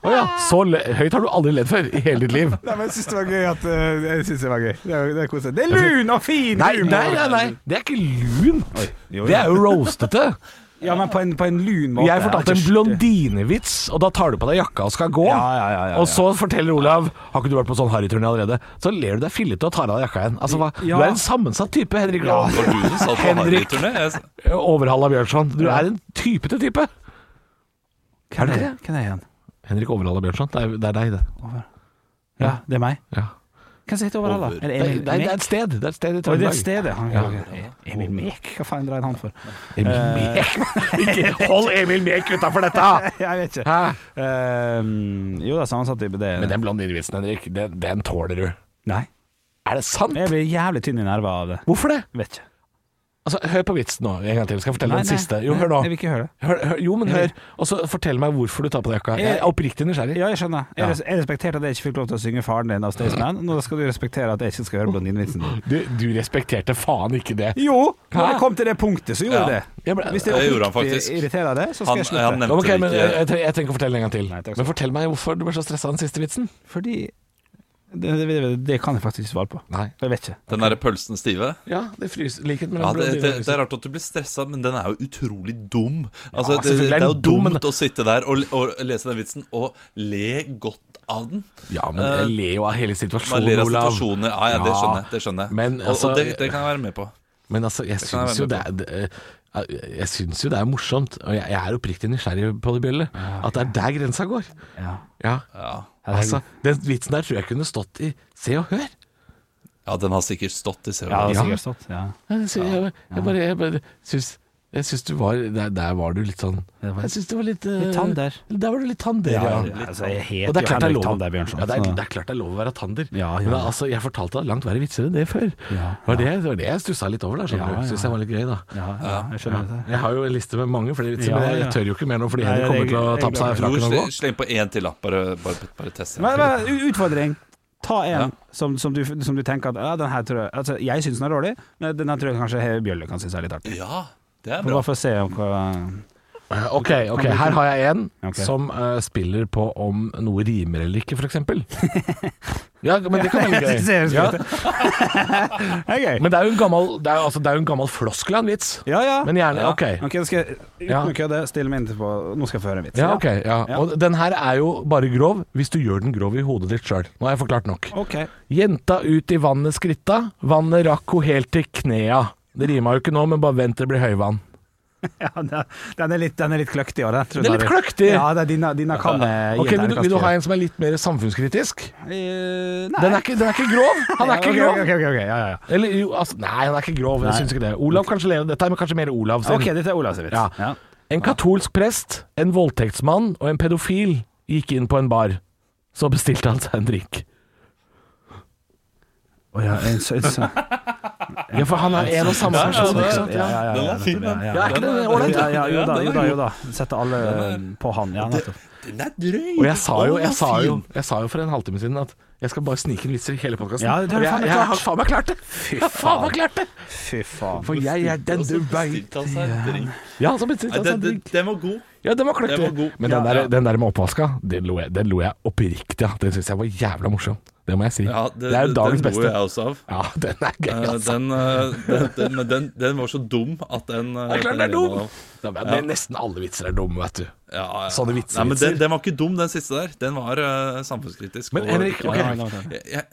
Speaker 3: Å ja, så le høyt har du aldri ledd før i hele ditt liv.
Speaker 4: Nei, men jeg syns det var gøy. At, eh, jeg synes det var gøy. Det er, det er koselig. Det er lun og fin
Speaker 3: Nei,
Speaker 4: humor!
Speaker 3: nei, nei, nei. det er ikke lunt.
Speaker 4: jo, jo.
Speaker 3: Det er jo roastete.
Speaker 4: Ja, men på en, på en lun måte.
Speaker 3: Jeg fortalte en
Speaker 4: Ikke-
Speaker 3: blondinevits, og da tar du på deg jakka og skal gå.
Speaker 4: Ja, ja, ja, ja,
Speaker 3: Og så forteller Olav Har ikke du vært på sånn harryturné allerede? Så ler du deg fillete og tar av deg jakka igjen. Altså, hva?
Speaker 4: Ja.
Speaker 3: Du er en sammensatt type, Henrik Lahl.
Speaker 6: Var du som satt på
Speaker 3: Henrik.
Speaker 6: Harry-turné? Jeg-
Speaker 3: Overhalla Bjørnson. Du er en typete type.
Speaker 4: Hvem
Speaker 3: Er
Speaker 4: er
Speaker 3: det
Speaker 4: det? Hvem er det igjen?
Speaker 3: Henrik Overhalla Bjørnson. Det er, det er deg, det.
Speaker 4: Ja, det er meg.
Speaker 3: Ja.
Speaker 4: Hvem som heter Overhalla? Er det
Speaker 3: Det, er, det,
Speaker 4: Emil
Speaker 3: er, det
Speaker 4: Mek?
Speaker 3: er et sted. Det er et sted i
Speaker 4: Å, det er
Speaker 3: Trøndelag.
Speaker 4: stedet. Han,
Speaker 3: Ja.
Speaker 4: Emil Mek? Hva faen dreier han for?
Speaker 3: Emil
Speaker 4: Eh.
Speaker 3: Mek. Ikke hold Emil Mek utafor dette!
Speaker 4: Jeg vet ikke.
Speaker 3: Hæ?
Speaker 4: Ehm, jo da, sammensatt type, det
Speaker 3: Men den blondinevitsen, Henrik, den, den tåler du.
Speaker 4: Nei.
Speaker 3: Er det sant?
Speaker 4: Jeg blir jævlig tynn i nerver av det.
Speaker 3: Hvorfor det?
Speaker 4: Vet ikke.
Speaker 3: Altså, Hør på vitsen nå en gang til. Skal jeg fortelle
Speaker 4: Nei,
Speaker 3: den
Speaker 4: nei,
Speaker 3: siste? Jo,
Speaker 4: nei,
Speaker 3: hør nå.
Speaker 4: jeg vil ikke høre det.
Speaker 3: Hør, hør, jo, men hør. Og så fortell meg hvorfor du tar på deg jakka. Jeg er oppriktig nysgjerrig.
Speaker 4: Ja, jeg skjønner. Jeg, res jeg respekterte at jeg ikke fikk lov til å synge faren din av Staysman. Nå skal du respektere at jeg ikke skal høre blondinevitsen din.
Speaker 3: Du, du respekterte faen ikke det.
Speaker 4: Jo, når jeg kom til det punktet, så gjorde
Speaker 6: Ja.
Speaker 4: jeg det.
Speaker 3: Jeg ble-
Speaker 4: Hvis det
Speaker 6: Det gjorde han
Speaker 4: oppriktig
Speaker 6: faktisk.
Speaker 4: irriterer deg, så skal
Speaker 6: Han,
Speaker 4: jeg slutte.
Speaker 6: han nevnte
Speaker 3: Ok, men eh, jeg,
Speaker 6: det ikke.
Speaker 3: jeg, trenger, jeg trenger ikke fortelle den en gang til.
Speaker 4: Nei, takk skal du
Speaker 3: men fortell meg hvorfor du ble så stressa av den siste vitsen.
Speaker 4: Fordi det, det, det, det kan jeg faktisk ikke svare på.
Speaker 3: Nei.
Speaker 4: Jeg vet ikke.
Speaker 6: Den derre pølsen stive.
Speaker 3: Ja, det fryser likhet med
Speaker 6: Ja,
Speaker 3: den
Speaker 6: det, det,
Speaker 3: blondinen.
Speaker 6: det er rart at du blir stressa, men den er jo utrolig dum. Altså,
Speaker 3: Ja,
Speaker 6: det,
Speaker 3: selvfølgelig
Speaker 6: det
Speaker 3: er
Speaker 6: er
Speaker 3: den
Speaker 6: jo
Speaker 3: dum, men-
Speaker 6: dumt å sitte der og, og lese den vitsen og le godt av den.
Speaker 3: Ja, men jeg ler jo av hele
Speaker 6: Eh, Man
Speaker 3: situasjonen,
Speaker 6: ler av
Speaker 3: Olav.
Speaker 6: situasjoner. Ja, ja, det
Speaker 3: Ja,
Speaker 6: skjønner jeg. Det skjønner jeg.
Speaker 3: men
Speaker 6: Og-
Speaker 3: altså-
Speaker 6: og det, det kan jeg være med på.
Speaker 3: Men altså, jeg
Speaker 6: kan jeg
Speaker 3: syns jo det
Speaker 6: være
Speaker 3: er det- eh, jeg syns jo det er morsomt, og jeg, jeg er oppriktig nysgjerrig på det, Bjølle. At det er der grensa går.
Speaker 4: Ja.
Speaker 3: Ja,
Speaker 6: Ja.
Speaker 3: altså, Den vitsen der tror jeg kunne stått i Se og Hør.
Speaker 6: ja, den har sikkert stått i CV.
Speaker 4: Ja, det
Speaker 3: Ja.
Speaker 4: har sikkert stått. Ja.
Speaker 3: Jeg, sy- jeg, jeg bare, jeg bare syns jeg syns du var der, der var du litt sånn
Speaker 4: Det var-
Speaker 3: Jeg syns du var litt eh,
Speaker 4: Litt tander.
Speaker 3: Der var du litt tander, ja.
Speaker 4: altså, jeg
Speaker 3: Og det er klart
Speaker 4: heter jo
Speaker 3: det er
Speaker 4: Henrik
Speaker 3: lov,
Speaker 4: Tandberg Bjørnson.
Speaker 3: ja, det, er,
Speaker 4: så-
Speaker 3: det er klart det er lov å være tander.
Speaker 4: Ja, ja.
Speaker 3: Men altså, jeg fortalte langt verre vitser enn det før.
Speaker 4: Ja,
Speaker 3: Det var det, det var det jeg stussa litt over. Da, skjønner
Speaker 4: Ja,
Speaker 3: du.
Speaker 4: ja.
Speaker 3: Syns jeg var litt gøy, da.
Speaker 4: ja, ja, jeg skjønner det.
Speaker 3: Jeg har jo en liste med mange flere vitser,
Speaker 4: Ja,
Speaker 3: men jeg,
Speaker 4: ja.
Speaker 3: jeg tør jo ikke mer nå fordi
Speaker 4: Nei,
Speaker 3: Henrik
Speaker 4: det er
Speaker 3: kommer til å
Speaker 4: gøy.
Speaker 3: ta på seg
Speaker 4: Det er
Speaker 3: frakken og gå.
Speaker 6: Sle- Sleng på én til, da. Bare, bare, bare teste.
Speaker 4: Men, men, u- utfordring. Ta en
Speaker 6: Ja.
Speaker 4: som, som, du, som du tenker at ja, den her tror jeg altså, Jeg syns den er dårlig, men den her tror jeg kanskje Heve Bjølle kan synes er litt artig.
Speaker 6: Ja, det er
Speaker 4: Men
Speaker 6: bra.
Speaker 4: Bare for å se om hva
Speaker 3: Eh, Ok, ok, her har jeg en
Speaker 4: Ok.
Speaker 3: som eh, spiller på om noe rimer eller ikke, f.eks. Ja, men det kan være
Speaker 4: Jeg
Speaker 3: litt
Speaker 4: synes det høres
Speaker 3: gøy. Ja,
Speaker 4: Det er gøy.
Speaker 3: men det er jo en gammel, det er, jo- altså, det er jo en gammel floskel av en vits.
Speaker 4: Ja, ja.
Speaker 3: Men gjerne,
Speaker 6: Ja.
Speaker 3: ok.
Speaker 4: Ok, nå skal jeg
Speaker 3: Ja.
Speaker 4: uten å kødde stille meg inntil på Nå skal jeg få høre en vits.
Speaker 3: Ja, ok. Ja.
Speaker 4: Ja.
Speaker 3: Og den her er jo bare grov hvis du gjør den grov i hodet ditt sjøl. Nå har jeg forklart nok.
Speaker 4: Ok.
Speaker 3: Jenta ut i vannet skritta, vannet rakk ho helt til knea. Det rima jo ikke nå, men bare vent til det blir høyvann.
Speaker 4: Ja, den- den er litt, den er litt kløktig. Ja, den, tror
Speaker 3: Den er
Speaker 4: jeg.
Speaker 3: litt kløktig.
Speaker 4: Ja, det er dine, dine kan jeg gi
Speaker 3: Ok,
Speaker 4: et
Speaker 3: vil du, vil du
Speaker 4: terningkast
Speaker 3: ha
Speaker 4: fire.
Speaker 3: en som er litt mer samfunnskritisk?
Speaker 4: Eh, nei.
Speaker 3: Den er ikke, den er ikke grov! Han er ikke
Speaker 4: Ja, ok,
Speaker 3: grov!
Speaker 4: ok, ok, ok, ja, ja, ja.
Speaker 3: Eller jo, altså, nei, han er ikke grov. Jeg syns ikke det. Olav kanskje lever Dette er kanskje mer Olav sin.
Speaker 4: Ok, dette er Olavs vits.
Speaker 3: Ja.
Speaker 4: Ja.
Speaker 3: En katolsk prest, en voldtektsmann og en pedofil gikk inn på en bar. Så bestilte han seg en drink.
Speaker 4: Å ja, en sø- en sø-
Speaker 3: Ja, for han er en og samme person, ikke sant?
Speaker 4: ja, ja, ja,
Speaker 6: Den
Speaker 4: ja,
Speaker 6: var fin, den.
Speaker 4: ja,
Speaker 3: Ja, er ikke det ålreit?
Speaker 4: Ja, ja, jo da,
Speaker 6: den
Speaker 4: jo
Speaker 6: er
Speaker 4: da,
Speaker 6: god.
Speaker 4: jo da. Setter alle eh, på han. Ja, nettopp.
Speaker 6: Den er drøy.
Speaker 3: Og jeg sa jo,
Speaker 6: Å, den
Speaker 3: jeg sa jo,
Speaker 6: fin.
Speaker 3: jeg sa jo for en halvtime siden at jeg skal bare snike en vitser i hele podkasten.
Speaker 4: Ja, det har du faen
Speaker 3: jeg,
Speaker 4: meg
Speaker 3: jeg
Speaker 4: klart.
Speaker 3: har faen meg klart det! Jeg har faen meg klart det!
Speaker 4: Fy faen.
Speaker 3: For jeg er den du veit.
Speaker 6: Stilt han seg en drink.
Speaker 3: Ja, så bestilte
Speaker 6: Nei,
Speaker 3: han seg
Speaker 6: den-
Speaker 3: en
Speaker 6: den-
Speaker 3: drink.
Speaker 6: Den var god.
Speaker 3: Ja, den var kløktig.
Speaker 6: den var god.
Speaker 3: Men den
Speaker 6: Ja,
Speaker 3: der,
Speaker 6: ja.
Speaker 3: den der med oppvaska, den lo jeg, den lo jeg oppriktig av. Den syns jeg var jævla morsom. Det må jeg si.
Speaker 6: Ja,
Speaker 3: det, er jo dagens
Speaker 6: Den
Speaker 3: beste.
Speaker 6: lo jeg også av.
Speaker 3: Ja, den er gøy,
Speaker 6: Eh,
Speaker 3: altså.
Speaker 6: Den, eh, den, den, men den, den var så dum at den eh,
Speaker 3: Det er klart den er
Speaker 6: den
Speaker 3: dum!
Speaker 6: var-
Speaker 3: Da- Men nesten alle vitser er dumme, vet du.
Speaker 6: Ja, ja.
Speaker 3: Sånne vitser-
Speaker 6: Nei, men
Speaker 3: vitser.
Speaker 6: den, den var ikke dum, den siste der. Den var eh, samfunnskritisk.
Speaker 3: Men
Speaker 6: og-
Speaker 3: Henrik, ok.
Speaker 6: Ja, jeg, jeg,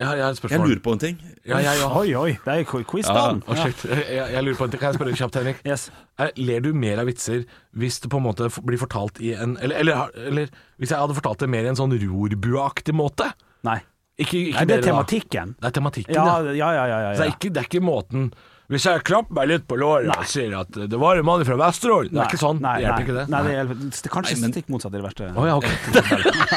Speaker 3: Jeg har jeg har et
Speaker 6: jeg
Speaker 3: spørsmål.
Speaker 6: lurer på en ting.
Speaker 3: Ja, jeg òg.
Speaker 4: Oi, oi, det er jo qu- quiz, da.
Speaker 3: Å, shit. Jeg- jeg- jeg lurer på en ting. Kan jeg spørre kjapt, Henrik?
Speaker 4: Yes.
Speaker 3: Er- Ler du mer av vitser hvis det på en måte f- blir fortalt i en Eller, eller, har- eller hvis jeg hadde fortalt det mer i en sånn rorbuaktig måte?
Speaker 4: Nei.
Speaker 3: Ikke, ikke
Speaker 4: Nei, det
Speaker 3: dere,
Speaker 4: er
Speaker 3: da.
Speaker 4: tematikken.
Speaker 3: Det er tematikken,
Speaker 4: Ja,
Speaker 3: ja.
Speaker 4: ja, ja. ja,
Speaker 3: Så
Speaker 4: ja,
Speaker 3: det, er
Speaker 4: ja.
Speaker 3: ikke, det er ikke måten Hvis jeg klapper meg litt på låret og sier at det var en mann fra Vesterålen Det er ikke sånn.
Speaker 4: Nei,
Speaker 3: det hjelper
Speaker 4: nei,
Speaker 3: ikke det.
Speaker 4: Nei, det hjelper. Det er kanskje
Speaker 6: Nei, men-
Speaker 4: stikk motsatt i det verste.
Speaker 3: Å, ja, ok.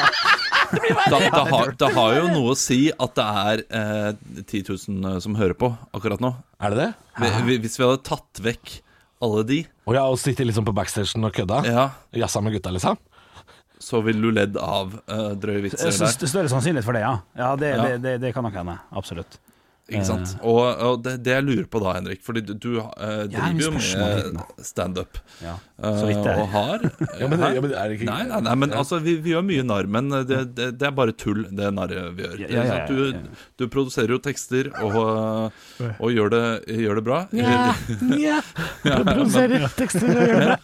Speaker 6: Da, da, har, da har jo noe å si at det er eh, 10 000 eh, som hører på akkurat nå.
Speaker 3: Er det det?
Speaker 6: Vi- vi- Hvis vi hadde tatt vekk alle de,
Speaker 3: Å ja, og sitte liksom på backstagen og kødda?
Speaker 6: ja,
Speaker 3: Jazza med gutta, liksom?
Speaker 6: så ville du ledd av eh, drøye vitser
Speaker 4: Jeg synes
Speaker 6: der.
Speaker 4: det er Større sannsynlighet for det, ja. Ja, Det,
Speaker 6: Ja.
Speaker 4: Det, det, det kan nok hende. Absolutt.
Speaker 6: Ikke sant? Og, og det, det jeg lurer på da, Henrik, fordi du, du eh, driver jo
Speaker 4: spørsmålet ditt
Speaker 6: med standup.
Speaker 4: Ja.
Speaker 6: eh,
Speaker 4: Så vidt det er.
Speaker 6: Og har
Speaker 3: Ja, men,
Speaker 6: Hæ?
Speaker 3: ja, men er det ikke
Speaker 6: Nei, nei, nei, men altså, vi, vi gjør mye narr, men eh, det, det, det er bare tull, det narret vi gjør.
Speaker 4: Ja, ja, ja, ja, ja.
Speaker 6: Du, du produserer jo tekster og, og gjør, det, gjør det bra.
Speaker 3: Ja, ja. Produserer tekster og gjør det.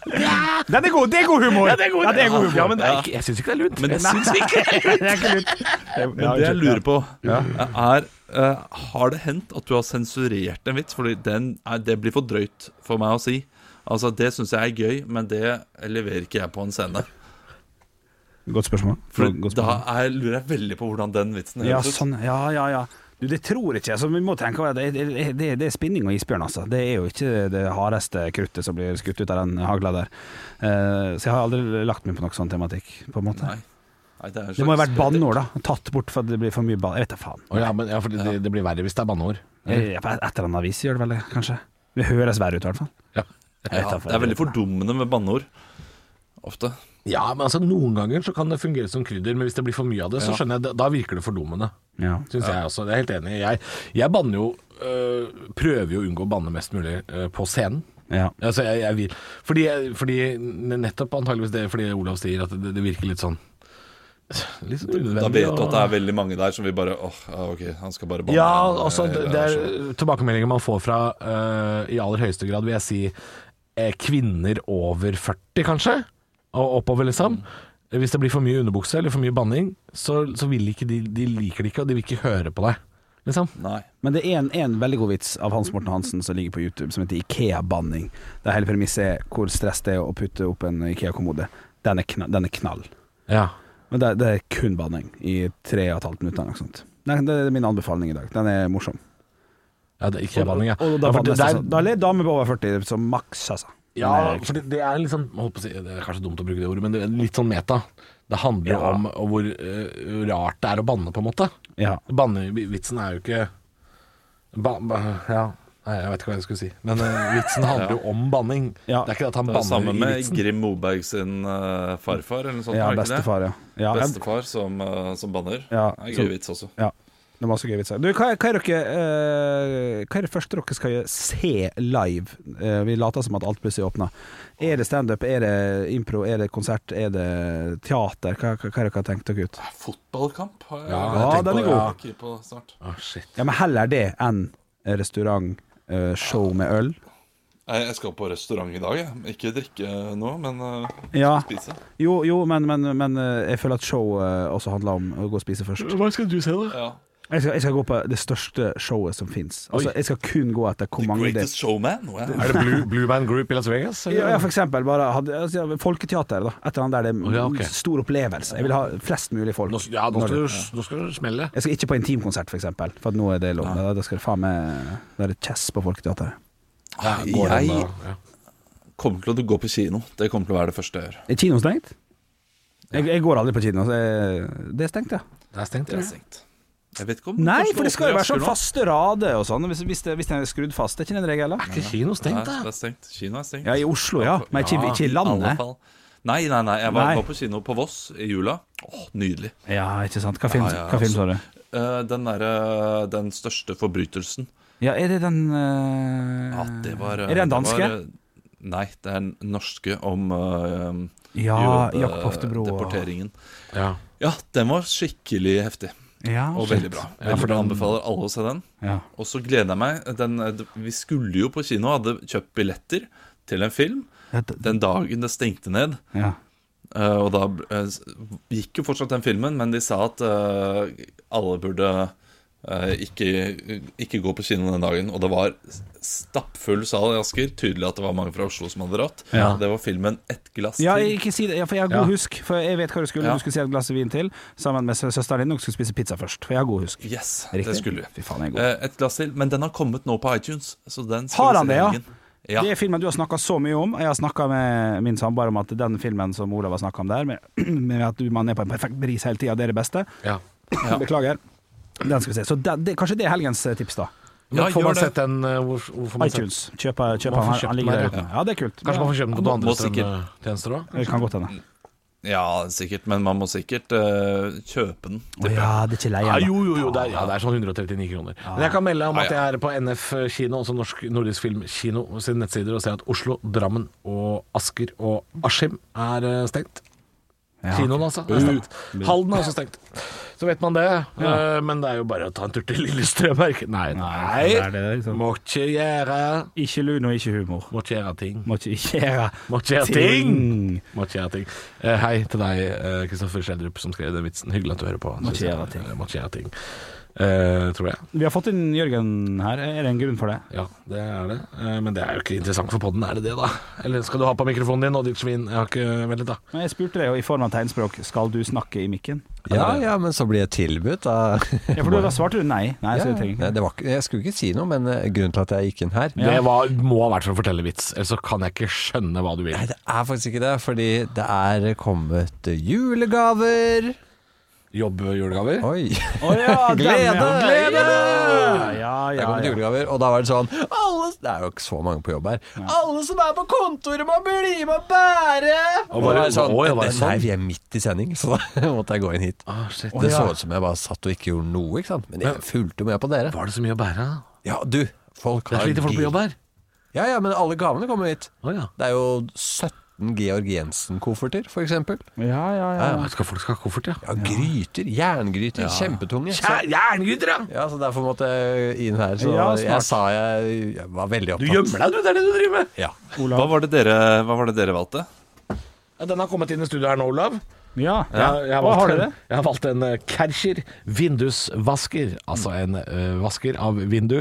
Speaker 4: Den er god! Det er god humor! Ja, det er god, humor.
Speaker 3: Ja, men det er ikke, jeg syns ikke det er lunt.
Speaker 6: Men-
Speaker 3: jeg syns ikke
Speaker 4: det er ikke lurt.
Speaker 6: Men det jeg lurer på, er eh, Har det hendt at du har sensurert en vits? Fordi den er, det blir for drøyt for meg å si. Altså, Det syns jeg er gøy, men det leverer ikke jeg på en scene.
Speaker 4: Godt spørsmål.
Speaker 6: For
Speaker 4: Godt spørsmål.
Speaker 6: da er, lurer jeg veldig på hvordan den vitsen
Speaker 4: Ja,
Speaker 6: høres ut.
Speaker 4: sånn. Ja, ja, ja. Du, det tror ikke jeg, så vi må tenke over det. Det, det- det, det er spinning og isbjørn, altså. Det er jo ikke det hardeste kruttet som blir skutt ut av den hagla der. Eh, så jeg har aldri lagt meg på noe sånn tematikk, på en måte.
Speaker 6: Nei. Nei, det, er en
Speaker 4: Det må jo
Speaker 6: slags-
Speaker 4: vært banneord, da. Tatt bort for at det blir for mye bann... Jeg vet da faen.
Speaker 3: Å ja, men, ja, for det, det blir verre hvis det er banneord.
Speaker 4: Jeg- jeg- På et eller annet vis gjør det vel det, kanskje.
Speaker 7: Det høres verre ut, i hvert fall.
Speaker 6: Ja, det er veldig fordummende med banneord. Ofte.
Speaker 3: Ja, men altså Noen ganger så kan det fungere som krydder, men hvis det blir for mye av det, så skjønner jeg det- Da virker det fordummende.
Speaker 7: Ja.
Speaker 3: Synes jeg også. Jeg er helt enig. Jeg, jeg banner jo øh, Prøver jo å unngå å banne mest mulig øh, på scenen.
Speaker 7: Ja.
Speaker 3: Altså, jeg, jeg vil fordi, jeg- fordi Nettopp antageligvis det fordi Olav sier at det, det virker litt sånn Litt sånn unødvendig.
Speaker 6: Da vet du
Speaker 3: og-
Speaker 6: at det er veldig mange der som vil bare åh, ja, ok, han skal bare banne.
Speaker 3: Ja,
Speaker 6: igjen,
Speaker 3: altså, det,
Speaker 6: eller
Speaker 3: det er
Speaker 6: sånn.
Speaker 3: tilbakemeldinger man får fra øh, i aller høyeste grad, vil jeg si, eh, kvinner over 40, kanskje, og oppover, liksom. Hvis det blir for mye underbukse eller for mye banning, så, så vil ikke de, de liker det ikke, og de vil ikke høre på deg, liksom.
Speaker 6: Nei.
Speaker 4: Men det er en, en veldig god vits av Hans Morten Hansen som ligger på YouTube, som heter Ikea-banning. Der hele premisset er hvor stress det er å putte opp en Ikea-kommode. Den, er kna- den er knall.
Speaker 3: Ja.
Speaker 4: Men det, det er kun banning i tre og et halvt minutt eller noe sånt. Nei, det er min anbefaling i dag. Den er morsom.
Speaker 3: Ja, det er ikke banning, ja.
Speaker 4: Og da,
Speaker 3: ja, for
Speaker 4: bannes
Speaker 3: det-
Speaker 4: det
Speaker 3: det er-
Speaker 4: sånn. da ler damer på over 40 som maks, altså.
Speaker 3: ja, for det, det er litt sånn holdt på å si, Det er kanskje dumt å bruke det ordet, men det er litt sånn meta. Det handler jo om og hvor eh, rart det er å banne, på en måte.
Speaker 4: Ja.
Speaker 3: Bannevitsen er jo ikke ba, ba, Ja. Nei, jeg vet ikke hva jeg skulle si. Men eh, vitsen handler jo om banning.
Speaker 4: Ja.
Speaker 3: Det er ikke det at han
Speaker 6: Det er jo
Speaker 3: banner
Speaker 6: sammen
Speaker 3: i
Speaker 6: med
Speaker 3: vitsen.
Speaker 6: Grim Moberg sin eh, farfar, eller noe sånt.
Speaker 4: Ja,
Speaker 6: er det ikke det?
Speaker 4: bestefar, ja. ja. jeg-
Speaker 6: Bestefar som, eh, som banner.
Speaker 4: Ja,
Speaker 6: Det er
Speaker 4: så-
Speaker 6: gøy vits også.
Speaker 4: Ja. Det var masse gøy vitser. Du, hva, hva, er dere, eh, hva er det første dere skal se live? Eh, vi later som at alt plutselig åpner. Er det standup, er det impro, er det konsert, er det teater? Hva, hva, hva er dere har tenkt dere ut?
Speaker 6: Fotballkamp har jeg
Speaker 3: jeg
Speaker 4: Ja,
Speaker 3: tenker
Speaker 4: den er
Speaker 3: på-
Speaker 4: god.
Speaker 3: ja.
Speaker 6: ikke på snart.
Speaker 3: Ah, shit.
Speaker 4: Ja, men heller det enn restaurant, eh, show med øl.
Speaker 6: Nei, Jeg skal på restaurant i dag, jeg. Ikke drikke noe, men eh,
Speaker 4: Ja,
Speaker 6: spise.
Speaker 4: jo, jo men, men, men eh, jeg føler at show eh, også handler om å gå og spise først.
Speaker 3: Hva skal du se, da?
Speaker 6: Ja.
Speaker 4: Jeg skal, jeg skal gå på det største showet som fins. Altså,
Speaker 3: Oi.
Speaker 4: jeg skal kun gå etter hvor
Speaker 6: The
Speaker 4: mange det
Speaker 6: Greatest Showman. Wow.
Speaker 3: Er det Blue, Blue Man Group i Las Vegas? eller?
Speaker 4: Ja, ja, for eksempel. Bare hadde, altså, ja, folketeater, da. Et eller annet der det er
Speaker 3: Å, ja, ok.
Speaker 4: stor opplevelse. Jeg vil ha flest mulig folk.
Speaker 3: Nå, ja, nå
Speaker 4: Når
Speaker 3: skal,
Speaker 4: det-
Speaker 3: du, nå skal du smelle.
Speaker 4: Jeg skal ikke på intimkonsert, for eksempel. For at nå er det lov. Da, da skal det faen meg Da er det chess på folketeateret.
Speaker 6: Ja,
Speaker 3: Går det an
Speaker 6: jeg
Speaker 3: å- ja.
Speaker 6: kommer til å gå på kino. Det kommer til å være det første jeg gjør.
Speaker 4: Er kinoen stengt? Jeg, jeg går aldri på kino. Så jeg, det er stengt, ja.
Speaker 3: Det er stengt,
Speaker 6: Det
Speaker 3: ja.
Speaker 6: er stengt. Jeg vet ikke om
Speaker 4: Nei,
Speaker 6: kanskje
Speaker 4: for det skal jo
Speaker 6: åpner i
Speaker 4: være sånn
Speaker 6: Asker nå.
Speaker 4: faste rader og sånn. Hvis, hvis, det- hvis den er skrudd fast. Er ikke det en regel,
Speaker 3: Er
Speaker 4: da?
Speaker 3: ikke kino
Speaker 6: Nei,
Speaker 3: stengt,
Speaker 6: det
Speaker 3: da?
Speaker 6: er stengt. Kino er stengt.
Speaker 4: Ja, i Oslo, ja. Men ikke,
Speaker 3: Ja,
Speaker 4: ikke i
Speaker 6: alle
Speaker 4: landet.
Speaker 6: fall. Nei, nei, nei. Jeg var,
Speaker 4: Nei.
Speaker 6: var på kino på Voss i jula. Åh, nydelig.
Speaker 4: Ja, ikke sant. Hva film,
Speaker 6: Ja, ja,
Speaker 4: hva film så du?
Speaker 6: Eh, den derre Den største forbrytelsen.
Speaker 4: Ja, er det den eh,
Speaker 6: Ja, det var eh,
Speaker 4: Er det en danske?
Speaker 6: var, eh, Nei, det er den norske om uh,
Speaker 4: ja, Ah, Jakob
Speaker 3: eh,
Speaker 4: Oftebro. og-
Speaker 6: Deporteringen.
Speaker 3: Ja.
Speaker 6: Ja, den var skikkelig heftig.
Speaker 4: Ja,
Speaker 6: Og
Speaker 4: shit.
Speaker 6: veldig bra.
Speaker 3: Ja,
Speaker 6: Veldig
Speaker 3: for
Speaker 6: bra.
Speaker 3: den-
Speaker 6: Anbefaler alle å se den.
Speaker 4: Ja.
Speaker 6: Og så gleder jeg meg den, eh, Vi skulle jo på kino, hadde kjøpt billetter til en film.
Speaker 4: Ja, d-
Speaker 6: Den dagen det stengte ned.
Speaker 4: ja.
Speaker 6: eh, Og da eh, s- gikk jo fortsatt den filmen, men de sa at eh, alle burde eh, ikke, ikke gå på kino den dagen. Og det var s- stappfull sal i Asker. Tydelig at det var mange fra Oslo som hadde dratt.
Speaker 4: Ja.
Speaker 6: Det var filmen 'Ett glass
Speaker 4: Ja,
Speaker 6: til'.
Speaker 4: ikke si det, ja, for jeg har god husk. For jeg vet hva du skulle.
Speaker 6: Ja.
Speaker 4: Du skulle si et glass vin til sammen med sø- søsteren din. Dere skulle spise pizza først. For jeg har god husk.
Speaker 6: Yes,
Speaker 4: Riktig.
Speaker 6: det skulle vi.
Speaker 4: Fy faen, jeg er god.
Speaker 6: Eh, Et glass til, men den har kommet nå på iTunes. Så den
Speaker 4: Har
Speaker 6: skal vi
Speaker 4: han
Speaker 6: se i
Speaker 4: det, ja?
Speaker 6: helgen. Ja.
Speaker 4: Det er filmen du har snakka så mye om. Jeg har snakka med min samboer om at den filmen som Olav har snakka om der, med, med at du- man er på en perfekt bris hele tida, det er det beste.
Speaker 3: ja.
Speaker 4: Beklager. Den skal vi se. Så den, det, kanskje det er helgens eh, tips, da.
Speaker 6: Ja,
Speaker 3: Men får
Speaker 6: gjør
Speaker 3: man
Speaker 6: det.
Speaker 3: sett den eh, hvor, hvor får man sett-
Speaker 4: iTunes. Kjøp kjøp
Speaker 3: Man får
Speaker 4: den. her.
Speaker 3: kjøpt
Speaker 4: Den ligger
Speaker 3: den
Speaker 4: der
Speaker 3: her,
Speaker 4: ute. Ja, det er kult.
Speaker 3: Kanskje man får kjøpe den på noen
Speaker 6: Må
Speaker 3: andre
Speaker 6: sikkert-
Speaker 3: strømmetjenester òg?
Speaker 4: Det kan godt hende.
Speaker 6: Ja, sikkert, men man må sikkert eh, kjøpe den.
Speaker 4: Å ja, det er ikke leie
Speaker 3: Ja,
Speaker 4: ennå.
Speaker 3: jo, jo, jo, det er, ja, det er sånn 139 kroner. Men jeg kan melde om at
Speaker 6: Ja, ja.
Speaker 3: jeg er på NF kino, altså Norsk Nordisk Film Kino sine nettsider, og ser at Oslo, Drammen og Asker og Askim er eh, stengt. Kinoen, altså. Er stengt. Halden er også stengt. Så vet man det. eh, Men det er jo bare å ta en tur til Lillestrøm. er ikke- Nei, nei.
Speaker 4: det er det, liksom.
Speaker 3: Må ikke gjøre
Speaker 4: Ikke lun og ikke humor.
Speaker 3: Må ikke gjøre ting.
Speaker 4: Må ikke gjøre
Speaker 3: Må ikke gjøre ting! Må ikke gjøre ting. Eh, hei til deg, eh, Kristoffer Schjelderup, som skrev den vitsen. Hyggelig at du hører på.
Speaker 4: Må ikke
Speaker 3: synes jeg.
Speaker 4: gjøre ting.
Speaker 3: Eh, Må ikke gjøre ting. Eh, tror jeg.
Speaker 4: Vi har fått inn Jørgen her. Er det en grunn for det?
Speaker 3: Ja, det er det. Eh, Men det er jo ikke interessant for podden, er det det, da? Eller skal du ha på mikrofonen din og ditt svin? Jeg har ikke Vent litt, da.
Speaker 4: Men jeg spurte deg jo i form av tegnspråk Skal du snakke i mikken?
Speaker 9: Ja, ja, men så blir jeg tilbudt av
Speaker 4: Ja, for du- da svarte du nei. Nei, så
Speaker 9: Ja,
Speaker 4: jeg trenger
Speaker 9: Nei,
Speaker 4: ikke.
Speaker 9: det var, ikke- jeg skulle ikke si noe, men eh, grunnen til at jeg gikk inn her
Speaker 3: Det var, må ha vært for å fortelle vits, ellers så kan jeg ikke skjønne hva du vil.
Speaker 9: Nei, det er faktisk ikke det, fordi det er kommet julegaver.
Speaker 3: Jobb julegaver?
Speaker 9: Oi.
Speaker 4: Å ja, den, ja.
Speaker 9: Glede!
Speaker 4: Glede! Ja, ja, ja,
Speaker 9: Der kom det
Speaker 4: ja.
Speaker 9: julegaver, og da var det sånn alle, Det er jo ikke så mange på jobb her. Alle som er på kontoret, må bli med og bære!
Speaker 3: bare-
Speaker 9: Og da var det sånn,
Speaker 3: Oi, var det
Speaker 9: «Nei,
Speaker 3: sånn?»
Speaker 9: vi er midt i sending, så da måtte jeg gå inn hit. det så ut som jeg bare satt og ikke gjorde noe, ikke sant? men jeg fulgte med på dere.
Speaker 3: Var det så mye å bære? da?
Speaker 9: Ja, du, folk
Speaker 3: Det
Speaker 9: har
Speaker 3: er så lite folk
Speaker 9: gi-
Speaker 3: på jobb her.
Speaker 9: Ja, ja, men alle gavene kommer hit.
Speaker 3: Å, ja.
Speaker 9: Det er jo 17 Georg Jensen-kofferter, for eksempel.
Speaker 4: Ja, ja, ja.
Speaker 3: Ja, skal folk skal ha koffert, ja.
Speaker 9: Ja, gryter, jerngryter, kjempetunge. Så,
Speaker 3: Jerngryter, ja!
Speaker 9: ja, så derfor måtte jeg inn her. Så
Speaker 4: Ja, smart.
Speaker 9: jeg sa jeg, jeg var veldig
Speaker 3: Du
Speaker 9: opptatt.
Speaker 3: gjemmer deg, du. Det er det du driver med.
Speaker 9: Ja.
Speaker 6: Hva var det dere, hva var det dere valgte?
Speaker 3: Ja, Den har kommet inn i studio her nå, Olav. Eh,
Speaker 4: ja.
Speaker 3: Jeg, jeg, har
Speaker 4: Hva
Speaker 3: valgt
Speaker 4: har
Speaker 3: en,
Speaker 4: dere?
Speaker 3: jeg har valgt en eh, Kärcher vindusvasker. Altså en eh, vasker av vindu.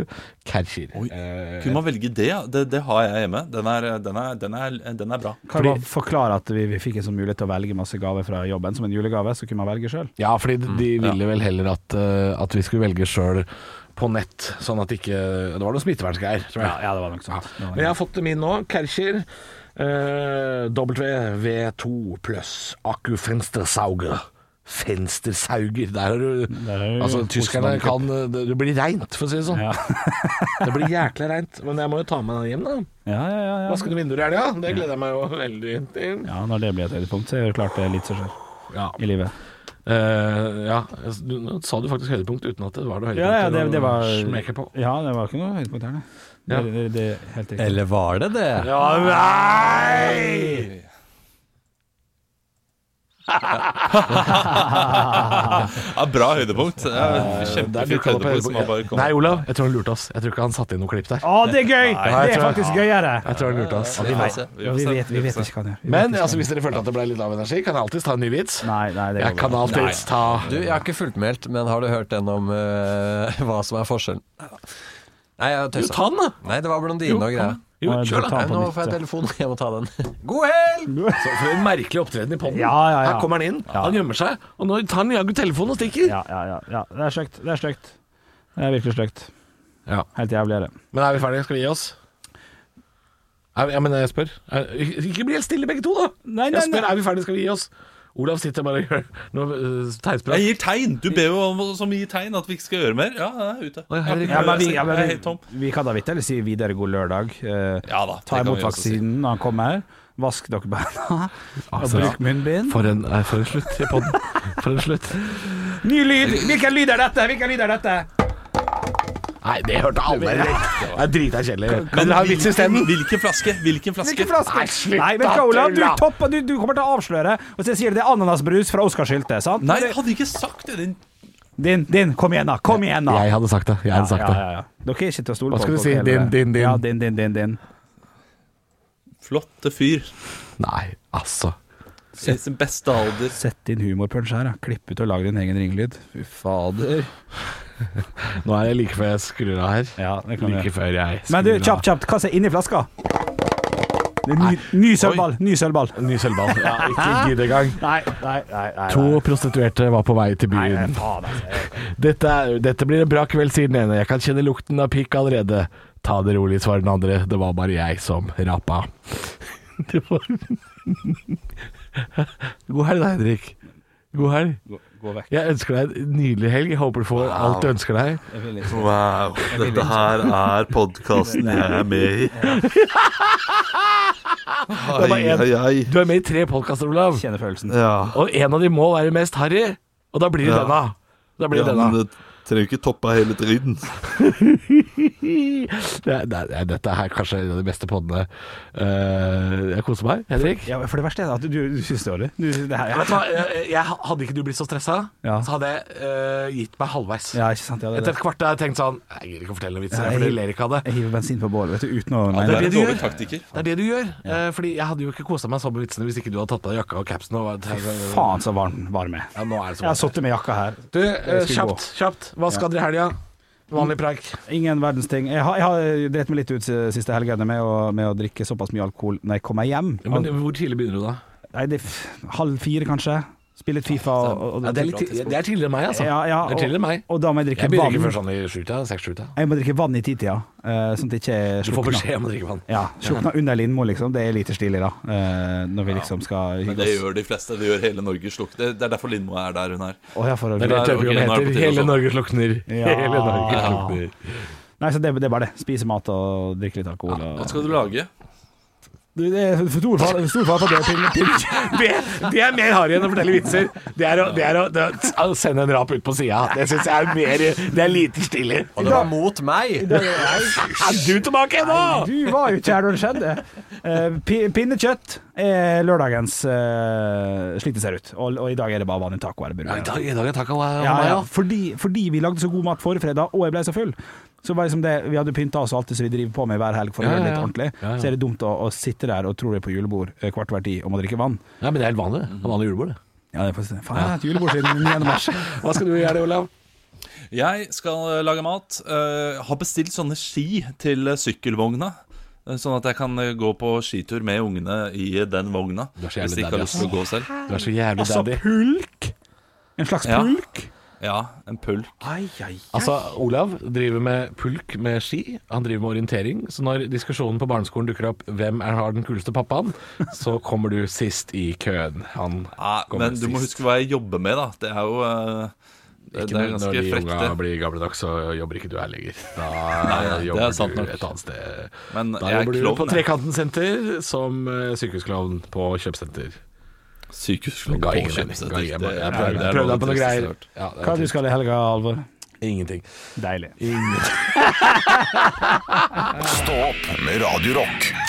Speaker 3: Kärcher. Eh,
Speaker 6: Kunne man velge det? ja? Det, det har jeg hjemme. Den er, den er, den er, den er bra.
Speaker 4: Kan jeg bare forklare at vi, vi fikk en sånn mulighet til å velge masse gaver fra jobben som en julegave, så kunne man velge sjøl.
Speaker 3: ja, fordi de de
Speaker 4: Mm,
Speaker 3: ville vel heller at, eh, at vi skulle velge sjøl på nett, sånn at ikke Det var noe smittevernsgreier, tror jeg.
Speaker 4: Ja, ja, det var nok sånt. Det var
Speaker 3: Men jeg har fått min nå, Kärcher. eh, WV2 pluss Akkufenstersauger. Fenstersauger. Der har du
Speaker 4: er jo
Speaker 3: Altså, tyskerne
Speaker 4: Oslo-Norge.
Speaker 3: kan eh, Det det blir reint, for å si det sånn.
Speaker 4: Ja.
Speaker 3: det blir jækla reint. Men jeg må jo ta med den hjem, da.
Speaker 4: Ja, ja, ja, ja.
Speaker 3: Vaske noen vinduer i helga. Det gleder jeg meg jo veldig til.
Speaker 4: ja, når det blir et høydepunkt, så er det klart det er litt som skjer
Speaker 3: Ja.
Speaker 4: i livet.
Speaker 3: Eh, ja. Du, nå sa du faktisk høydepunkt uten at det var noe høydepunkt
Speaker 4: Ja, ja, det, det var
Speaker 3: å smeke på.
Speaker 4: Ja, det var ikke noe høydepunkt her, nei.
Speaker 3: Ja.
Speaker 4: Det, det, det er helt riktig.
Speaker 9: Eller var det det?
Speaker 3: Ja, nei!
Speaker 6: Ja, bra høydepunkt.
Speaker 4: Eh,
Speaker 6: Ja,
Speaker 3: Der
Speaker 6: Kjempefint
Speaker 3: dukket det opp
Speaker 6: høydepunkt. som
Speaker 3: høydepunkt.
Speaker 6: har bare kommet.
Speaker 3: Nei, Olav, jeg tror han lurte oss. Jeg tror ikke han satte inn noe klipp der.
Speaker 4: Å, det er gøy!
Speaker 3: jeg
Speaker 4: det er
Speaker 3: tror-
Speaker 4: faktisk gøyere.
Speaker 3: Jeg tror han lurte oss.
Speaker 6: Vi får se.
Speaker 4: Vi vet, vi vet ikke hva han gjør. Vi vet
Speaker 3: Men
Speaker 4: ikke hva
Speaker 3: altså,
Speaker 4: han gjør.
Speaker 3: hvis dere følte at det ble litt lav energi, kan jeg alltids ta en ny vits.
Speaker 4: Nei, nei, det
Speaker 3: Jeg
Speaker 4: går
Speaker 3: kan
Speaker 4: bra.
Speaker 3: alltids ta
Speaker 9: Du, jeg har ikke fulltmeldt, men har du hørt den om eh, hva som er forskjellen? Nei, jeg har
Speaker 3: Jo,
Speaker 9: tøysa.
Speaker 3: ta den, da!
Speaker 9: Nei, det var blondine og greier.
Speaker 3: Jo,
Speaker 4: Nei,
Speaker 3: kjør,
Speaker 4: ta
Speaker 3: da!
Speaker 9: Nei,
Speaker 4: på
Speaker 9: nå
Speaker 4: nytt,
Speaker 9: får jeg
Speaker 4: ja.
Speaker 9: telefon, jeg må ta den. God helg!
Speaker 3: Så for en merkelig opptreden i podden
Speaker 4: Ja, ja, ja.
Speaker 3: Her kommer han inn,
Speaker 4: Ja.
Speaker 3: han gjemmer seg, og nå tar han jaggu telefonen og stikker.
Speaker 4: Ja, ja, ja, ja. Det er stygt. Det er stygt. Det er virkelig stygt.
Speaker 3: Ja.
Speaker 4: Helt jævlig er det.
Speaker 3: Men er vi ferdige? Skal vi gi oss? Er, ja, men jeg spør. Er, ikke bli helt stille begge to, da!
Speaker 4: Nei, nei,
Speaker 3: jeg spør, er vi ferdige? Skal vi gi oss? Olav sitter bare og gjør noe øh, tegnspråk.
Speaker 6: Jeg gir tegn! Du ber jo om oss om å gi tegn at vi ikke skal gjøre mer. Ja, jeg er ute.
Speaker 3: Oi, herregud.
Speaker 4: Ja, men vi, ja,
Speaker 6: Jeg er
Speaker 4: men
Speaker 6: helt tom.
Speaker 4: vi, vi kan da vitterlig si videre god lørdag. Eh,
Speaker 6: Ja da, det
Speaker 4: ta
Speaker 6: kan
Speaker 4: imot
Speaker 6: vi også si.
Speaker 4: vaksinen når han kommer. Vask dere beina. Og
Speaker 3: Altså,
Speaker 4: bruk munnbind.
Speaker 3: For en, nei, for en slutt i podden. For en slutt.
Speaker 4: Ny lyd! Hvilken lyd er dette? Hvilken lyd er dette?
Speaker 3: Nei, det hørte alle. Det er drita kjedelig. Men dere har vits
Speaker 6: Hvilken,
Speaker 3: isteden.
Speaker 6: hvilken flaske? Hvilken flaske?
Speaker 4: Hvilken flaske?
Speaker 3: Nei, slutt
Speaker 4: Nei, vet du
Speaker 3: da,
Speaker 4: hva, Olav, du,
Speaker 3: tulla.
Speaker 4: topper, du, du kommer til å avsløre. Og så sier du det er ananasbrus fra Oskar Sylte, sant?
Speaker 6: Nei, jeg hadde ikke sagt det. Den
Speaker 4: Din, din. Kom igjen, da. Kom igjen, da.
Speaker 3: Jeg hadde sagt det. Jeg hadde sagt
Speaker 4: ja,
Speaker 3: det.
Speaker 4: ja, ja. Dere er ikke til å stole
Speaker 3: Hva
Speaker 4: på.
Speaker 3: skal du
Speaker 4: folk
Speaker 3: si?
Speaker 4: heller.
Speaker 3: Din, din, din.
Speaker 4: Ja, din, din, din, din.
Speaker 6: flotte fyr.
Speaker 3: Nei, altså.
Speaker 6: I sin beste alder.
Speaker 4: Sett inn humorpunch her, da. Klipp ut og lag din egen ringlyd. Fy fader.
Speaker 3: Nå er jeg like før jeg skrur av her.
Speaker 4: Ja, det kan du gjøre.
Speaker 3: Like før jeg skrur
Speaker 4: Men du, kjapt, kjapt, hva som er inni flaska? Det er ny, ny sølvball. Ny sølvball.
Speaker 3: av. Ny sølvball. Ja, ikke gidd engang.
Speaker 4: Nei, nei, nei. nei
Speaker 3: To prostituerte var på vei til
Speaker 4: Nei, nei,
Speaker 3: byen.
Speaker 4: faen, altså.
Speaker 3: Dette, er, dette blir en bra kveld, sier den ene. Jeg kan kjenne lukten av pikk allerede. Ta det rolig, svarer den andre. Det var bare jeg som rapa. Det var God helg, da, Henrik. God helg.
Speaker 4: Gå, gå vekk.
Speaker 3: Jeg ønsker deg en nydelig helg. Jeg håper du får alt du ønsker deg.
Speaker 4: liksom-
Speaker 6: Wow, dette her er podkasten jeg er med i.
Speaker 3: bare en. ai, Du er med i tre podkaster, Olav.
Speaker 4: Kjenner følelsen.
Speaker 10: Ja,
Speaker 3: Og en av de må være mest harry, og da blir det
Speaker 10: Ja.
Speaker 3: denne. Da blir
Speaker 10: ja
Speaker 3: det
Speaker 10: men
Speaker 3: denne.
Speaker 10: det trenger ikke toppe hele driten.
Speaker 3: Det, er- det, er- dette er kanskje en av de beste podene. Eh, jeg koser meg. Henrik?
Speaker 4: Ja, for det verste er at du, du syns det er dårlig. Du, det her,
Speaker 3: Ja, vet du hva, jeg, jeg, hadde ikke du blitt så stressa,
Speaker 4: Ja.
Speaker 3: så hadde jeg eh, gitt meg halvveis.
Speaker 4: ja, ikke sant? Ja, det,
Speaker 3: Etter et kvarter hadde jeg tenkt sånn Jeg gidder ikke å fortelle noen vitser,
Speaker 4: Nei.
Speaker 3: for dere ler ikke av det.
Speaker 4: Jeg hiver bensin på bålet, vet du, uten å
Speaker 6: Det
Speaker 4: mene
Speaker 6: er
Speaker 3: det
Speaker 6: en
Speaker 3: du
Speaker 6: dårlig
Speaker 3: gjør.
Speaker 6: taktiker.
Speaker 3: Det er det du gjør. Eh, fordi jeg hadde jo ikke kosa meg sånn med vitsene hvis ikke du hadde tatt på deg jakka og capsen. Og ja,
Speaker 4: Faen så varm varm jeg er.
Speaker 3: nå er det
Speaker 4: Jeg har
Speaker 3: sånn.
Speaker 4: sittet med jakka her.
Speaker 3: Du, eh,
Speaker 4: Jeg skulle
Speaker 3: kjapt, kjapt. Hva skal dere i helga? Vanlig preik.
Speaker 4: Ingen verdens ting. Jeg har, jeg har dreit meg litt ut siste helgene med å, med å drikke såpass mye alkohol når jeg kommer hjem.
Speaker 3: Men hvor tidlig begynner du, da?
Speaker 4: Nei, det er f- halv fire, kanskje. Spille litt Fifa og, og, og
Speaker 3: Ja, det, er litt, ti- det er tidligere enn meg, altså.
Speaker 4: ja, ja,
Speaker 3: Det er tidligere enn meg.
Speaker 4: Og, og da må jeg drikke
Speaker 3: Jeg begynner ikke
Speaker 4: vann.
Speaker 3: før sånn i sjutida. Seks-sjutida.
Speaker 4: Jeg må drikke vann i titida, eh, sånn at jeg ikke
Speaker 3: Du får
Speaker 4: slukner.
Speaker 3: beskjed om å drikke vann.
Speaker 4: Ja, slukna under Lindmo, liksom. Det er lite stilig, da. eh, når vi liksom skal
Speaker 6: Men
Speaker 4: hygge
Speaker 6: det
Speaker 4: oss.
Speaker 6: gjør de fleste. Det gjør hele Norge slukk. Det, det er derfor Lindmo er der hun er.
Speaker 4: Å, ja, for å-
Speaker 3: Det er det
Speaker 6: Nei, ok,
Speaker 3: TV-programmet
Speaker 6: nå er det på
Speaker 3: heter.
Speaker 6: tide å
Speaker 3: Hele
Speaker 6: sove.
Speaker 3: Norge slukner.
Speaker 4: Ja.
Speaker 3: Hele Norge slukner.
Speaker 4: Nei, så det, det er bare det. Spise mat og drikke litt alkohol. Og,
Speaker 6: Hva skal du lage?
Speaker 4: Du, det er stor fare stor fare for det til, til
Speaker 11: Det, det er mer harry enn å fortelle vitser. Det er å, det er å, det er å sende en rap ut på sida. Det syns jeg er mer Det er lite stilig.
Speaker 9: Og det var mot meg!
Speaker 11: Er du tilbake nå?
Speaker 4: Du var jo ikke her da det skjedde. Eh, pi- pinnekjøtt er lørdagens eh, slik det ser ut. Og, og i dag er det bare vanlig taco. Eller burger.
Speaker 3: dag, i dag er taco meg,
Speaker 4: Ja, ja. Fordi, fordi vi lagde så god mat forrige fredag, og jeg ble så full. Så var det liksom det, Vi hadde pynta oss og alt det som vi driver på med hver helg for å
Speaker 3: Ja,
Speaker 4: gjøre det
Speaker 3: ja,
Speaker 4: litt
Speaker 3: ja.
Speaker 4: ordentlig.
Speaker 3: Ja, ja.
Speaker 4: Så er det dumt å, å sitte der og tro det er på julebord eh, kvart over ti og må drikke vann.
Speaker 3: Nei, men det er helt vanlig. Det er vanlig julebord, det.
Speaker 4: Ja, det er faktisk, faen, jeg har hatt julebord siden 9. mars.
Speaker 3: Hva skal du gjøre, Olav?
Speaker 6: Jeg skal eh, lage mat. eh, har bestilt sånne ski til eh, sykkelvogna. eh, Sånn at jeg kan eh, gå på skitur med ungene i eh, den vogna.
Speaker 3: Du er så jævlig
Speaker 6: Hvis de ikke
Speaker 3: daddy,
Speaker 6: har lyst til å gå selv.
Speaker 3: Du er så jævlig
Speaker 4: Altså,
Speaker 3: daddy.
Speaker 4: pulk? En slags
Speaker 6: Ja.
Speaker 4: pulk?
Speaker 6: Ja, en pulk.
Speaker 3: Altså, Olav driver med pulk med ski, han driver med orientering. Så når diskusjonen på barneskolen dukker opp 'Hvem er, har den kuleste pappaen?', så kommer du sist i køen. Han
Speaker 6: Ja,
Speaker 3: kommer
Speaker 6: men
Speaker 3: sist.
Speaker 6: du må huske hva jeg jobber med, da. Det er jo eh, det,
Speaker 3: Ikke
Speaker 6: det er
Speaker 3: når-
Speaker 6: ganske
Speaker 3: Når de
Speaker 6: frekt, det.
Speaker 3: unga blir gamledags, så jobber ikke du her lenger. Da
Speaker 6: nei, det er
Speaker 3: jobber
Speaker 6: sant nok.
Speaker 3: du et annet sted.
Speaker 6: Men
Speaker 3: Da
Speaker 6: jeg er
Speaker 3: jobber du
Speaker 6: klovn,
Speaker 3: på
Speaker 6: jeg.
Speaker 3: Trekanten senter som eh, sykehusklovn på kjøpesenter.
Speaker 6: Sykehusklovn
Speaker 3: Ga
Speaker 6: på
Speaker 3: ingen mening. Ga
Speaker 6: kjøpesenter.
Speaker 3: ingen
Speaker 6: Det-
Speaker 3: mening. Jeg
Speaker 6: det er-
Speaker 3: prøvde-
Speaker 6: det er
Speaker 3: jeg
Speaker 6: noe
Speaker 3: prøvde
Speaker 6: av
Speaker 3: meg på noe
Speaker 6: det tristeste jeg
Speaker 3: greier.
Speaker 6: har hørt.
Speaker 3: Ja, det er
Speaker 4: Hva er det du
Speaker 3: trist.
Speaker 4: skal i helga, Alvor?
Speaker 3: Ingenting.
Speaker 4: Deilig.
Speaker 1: Stå opp med Radio Rock.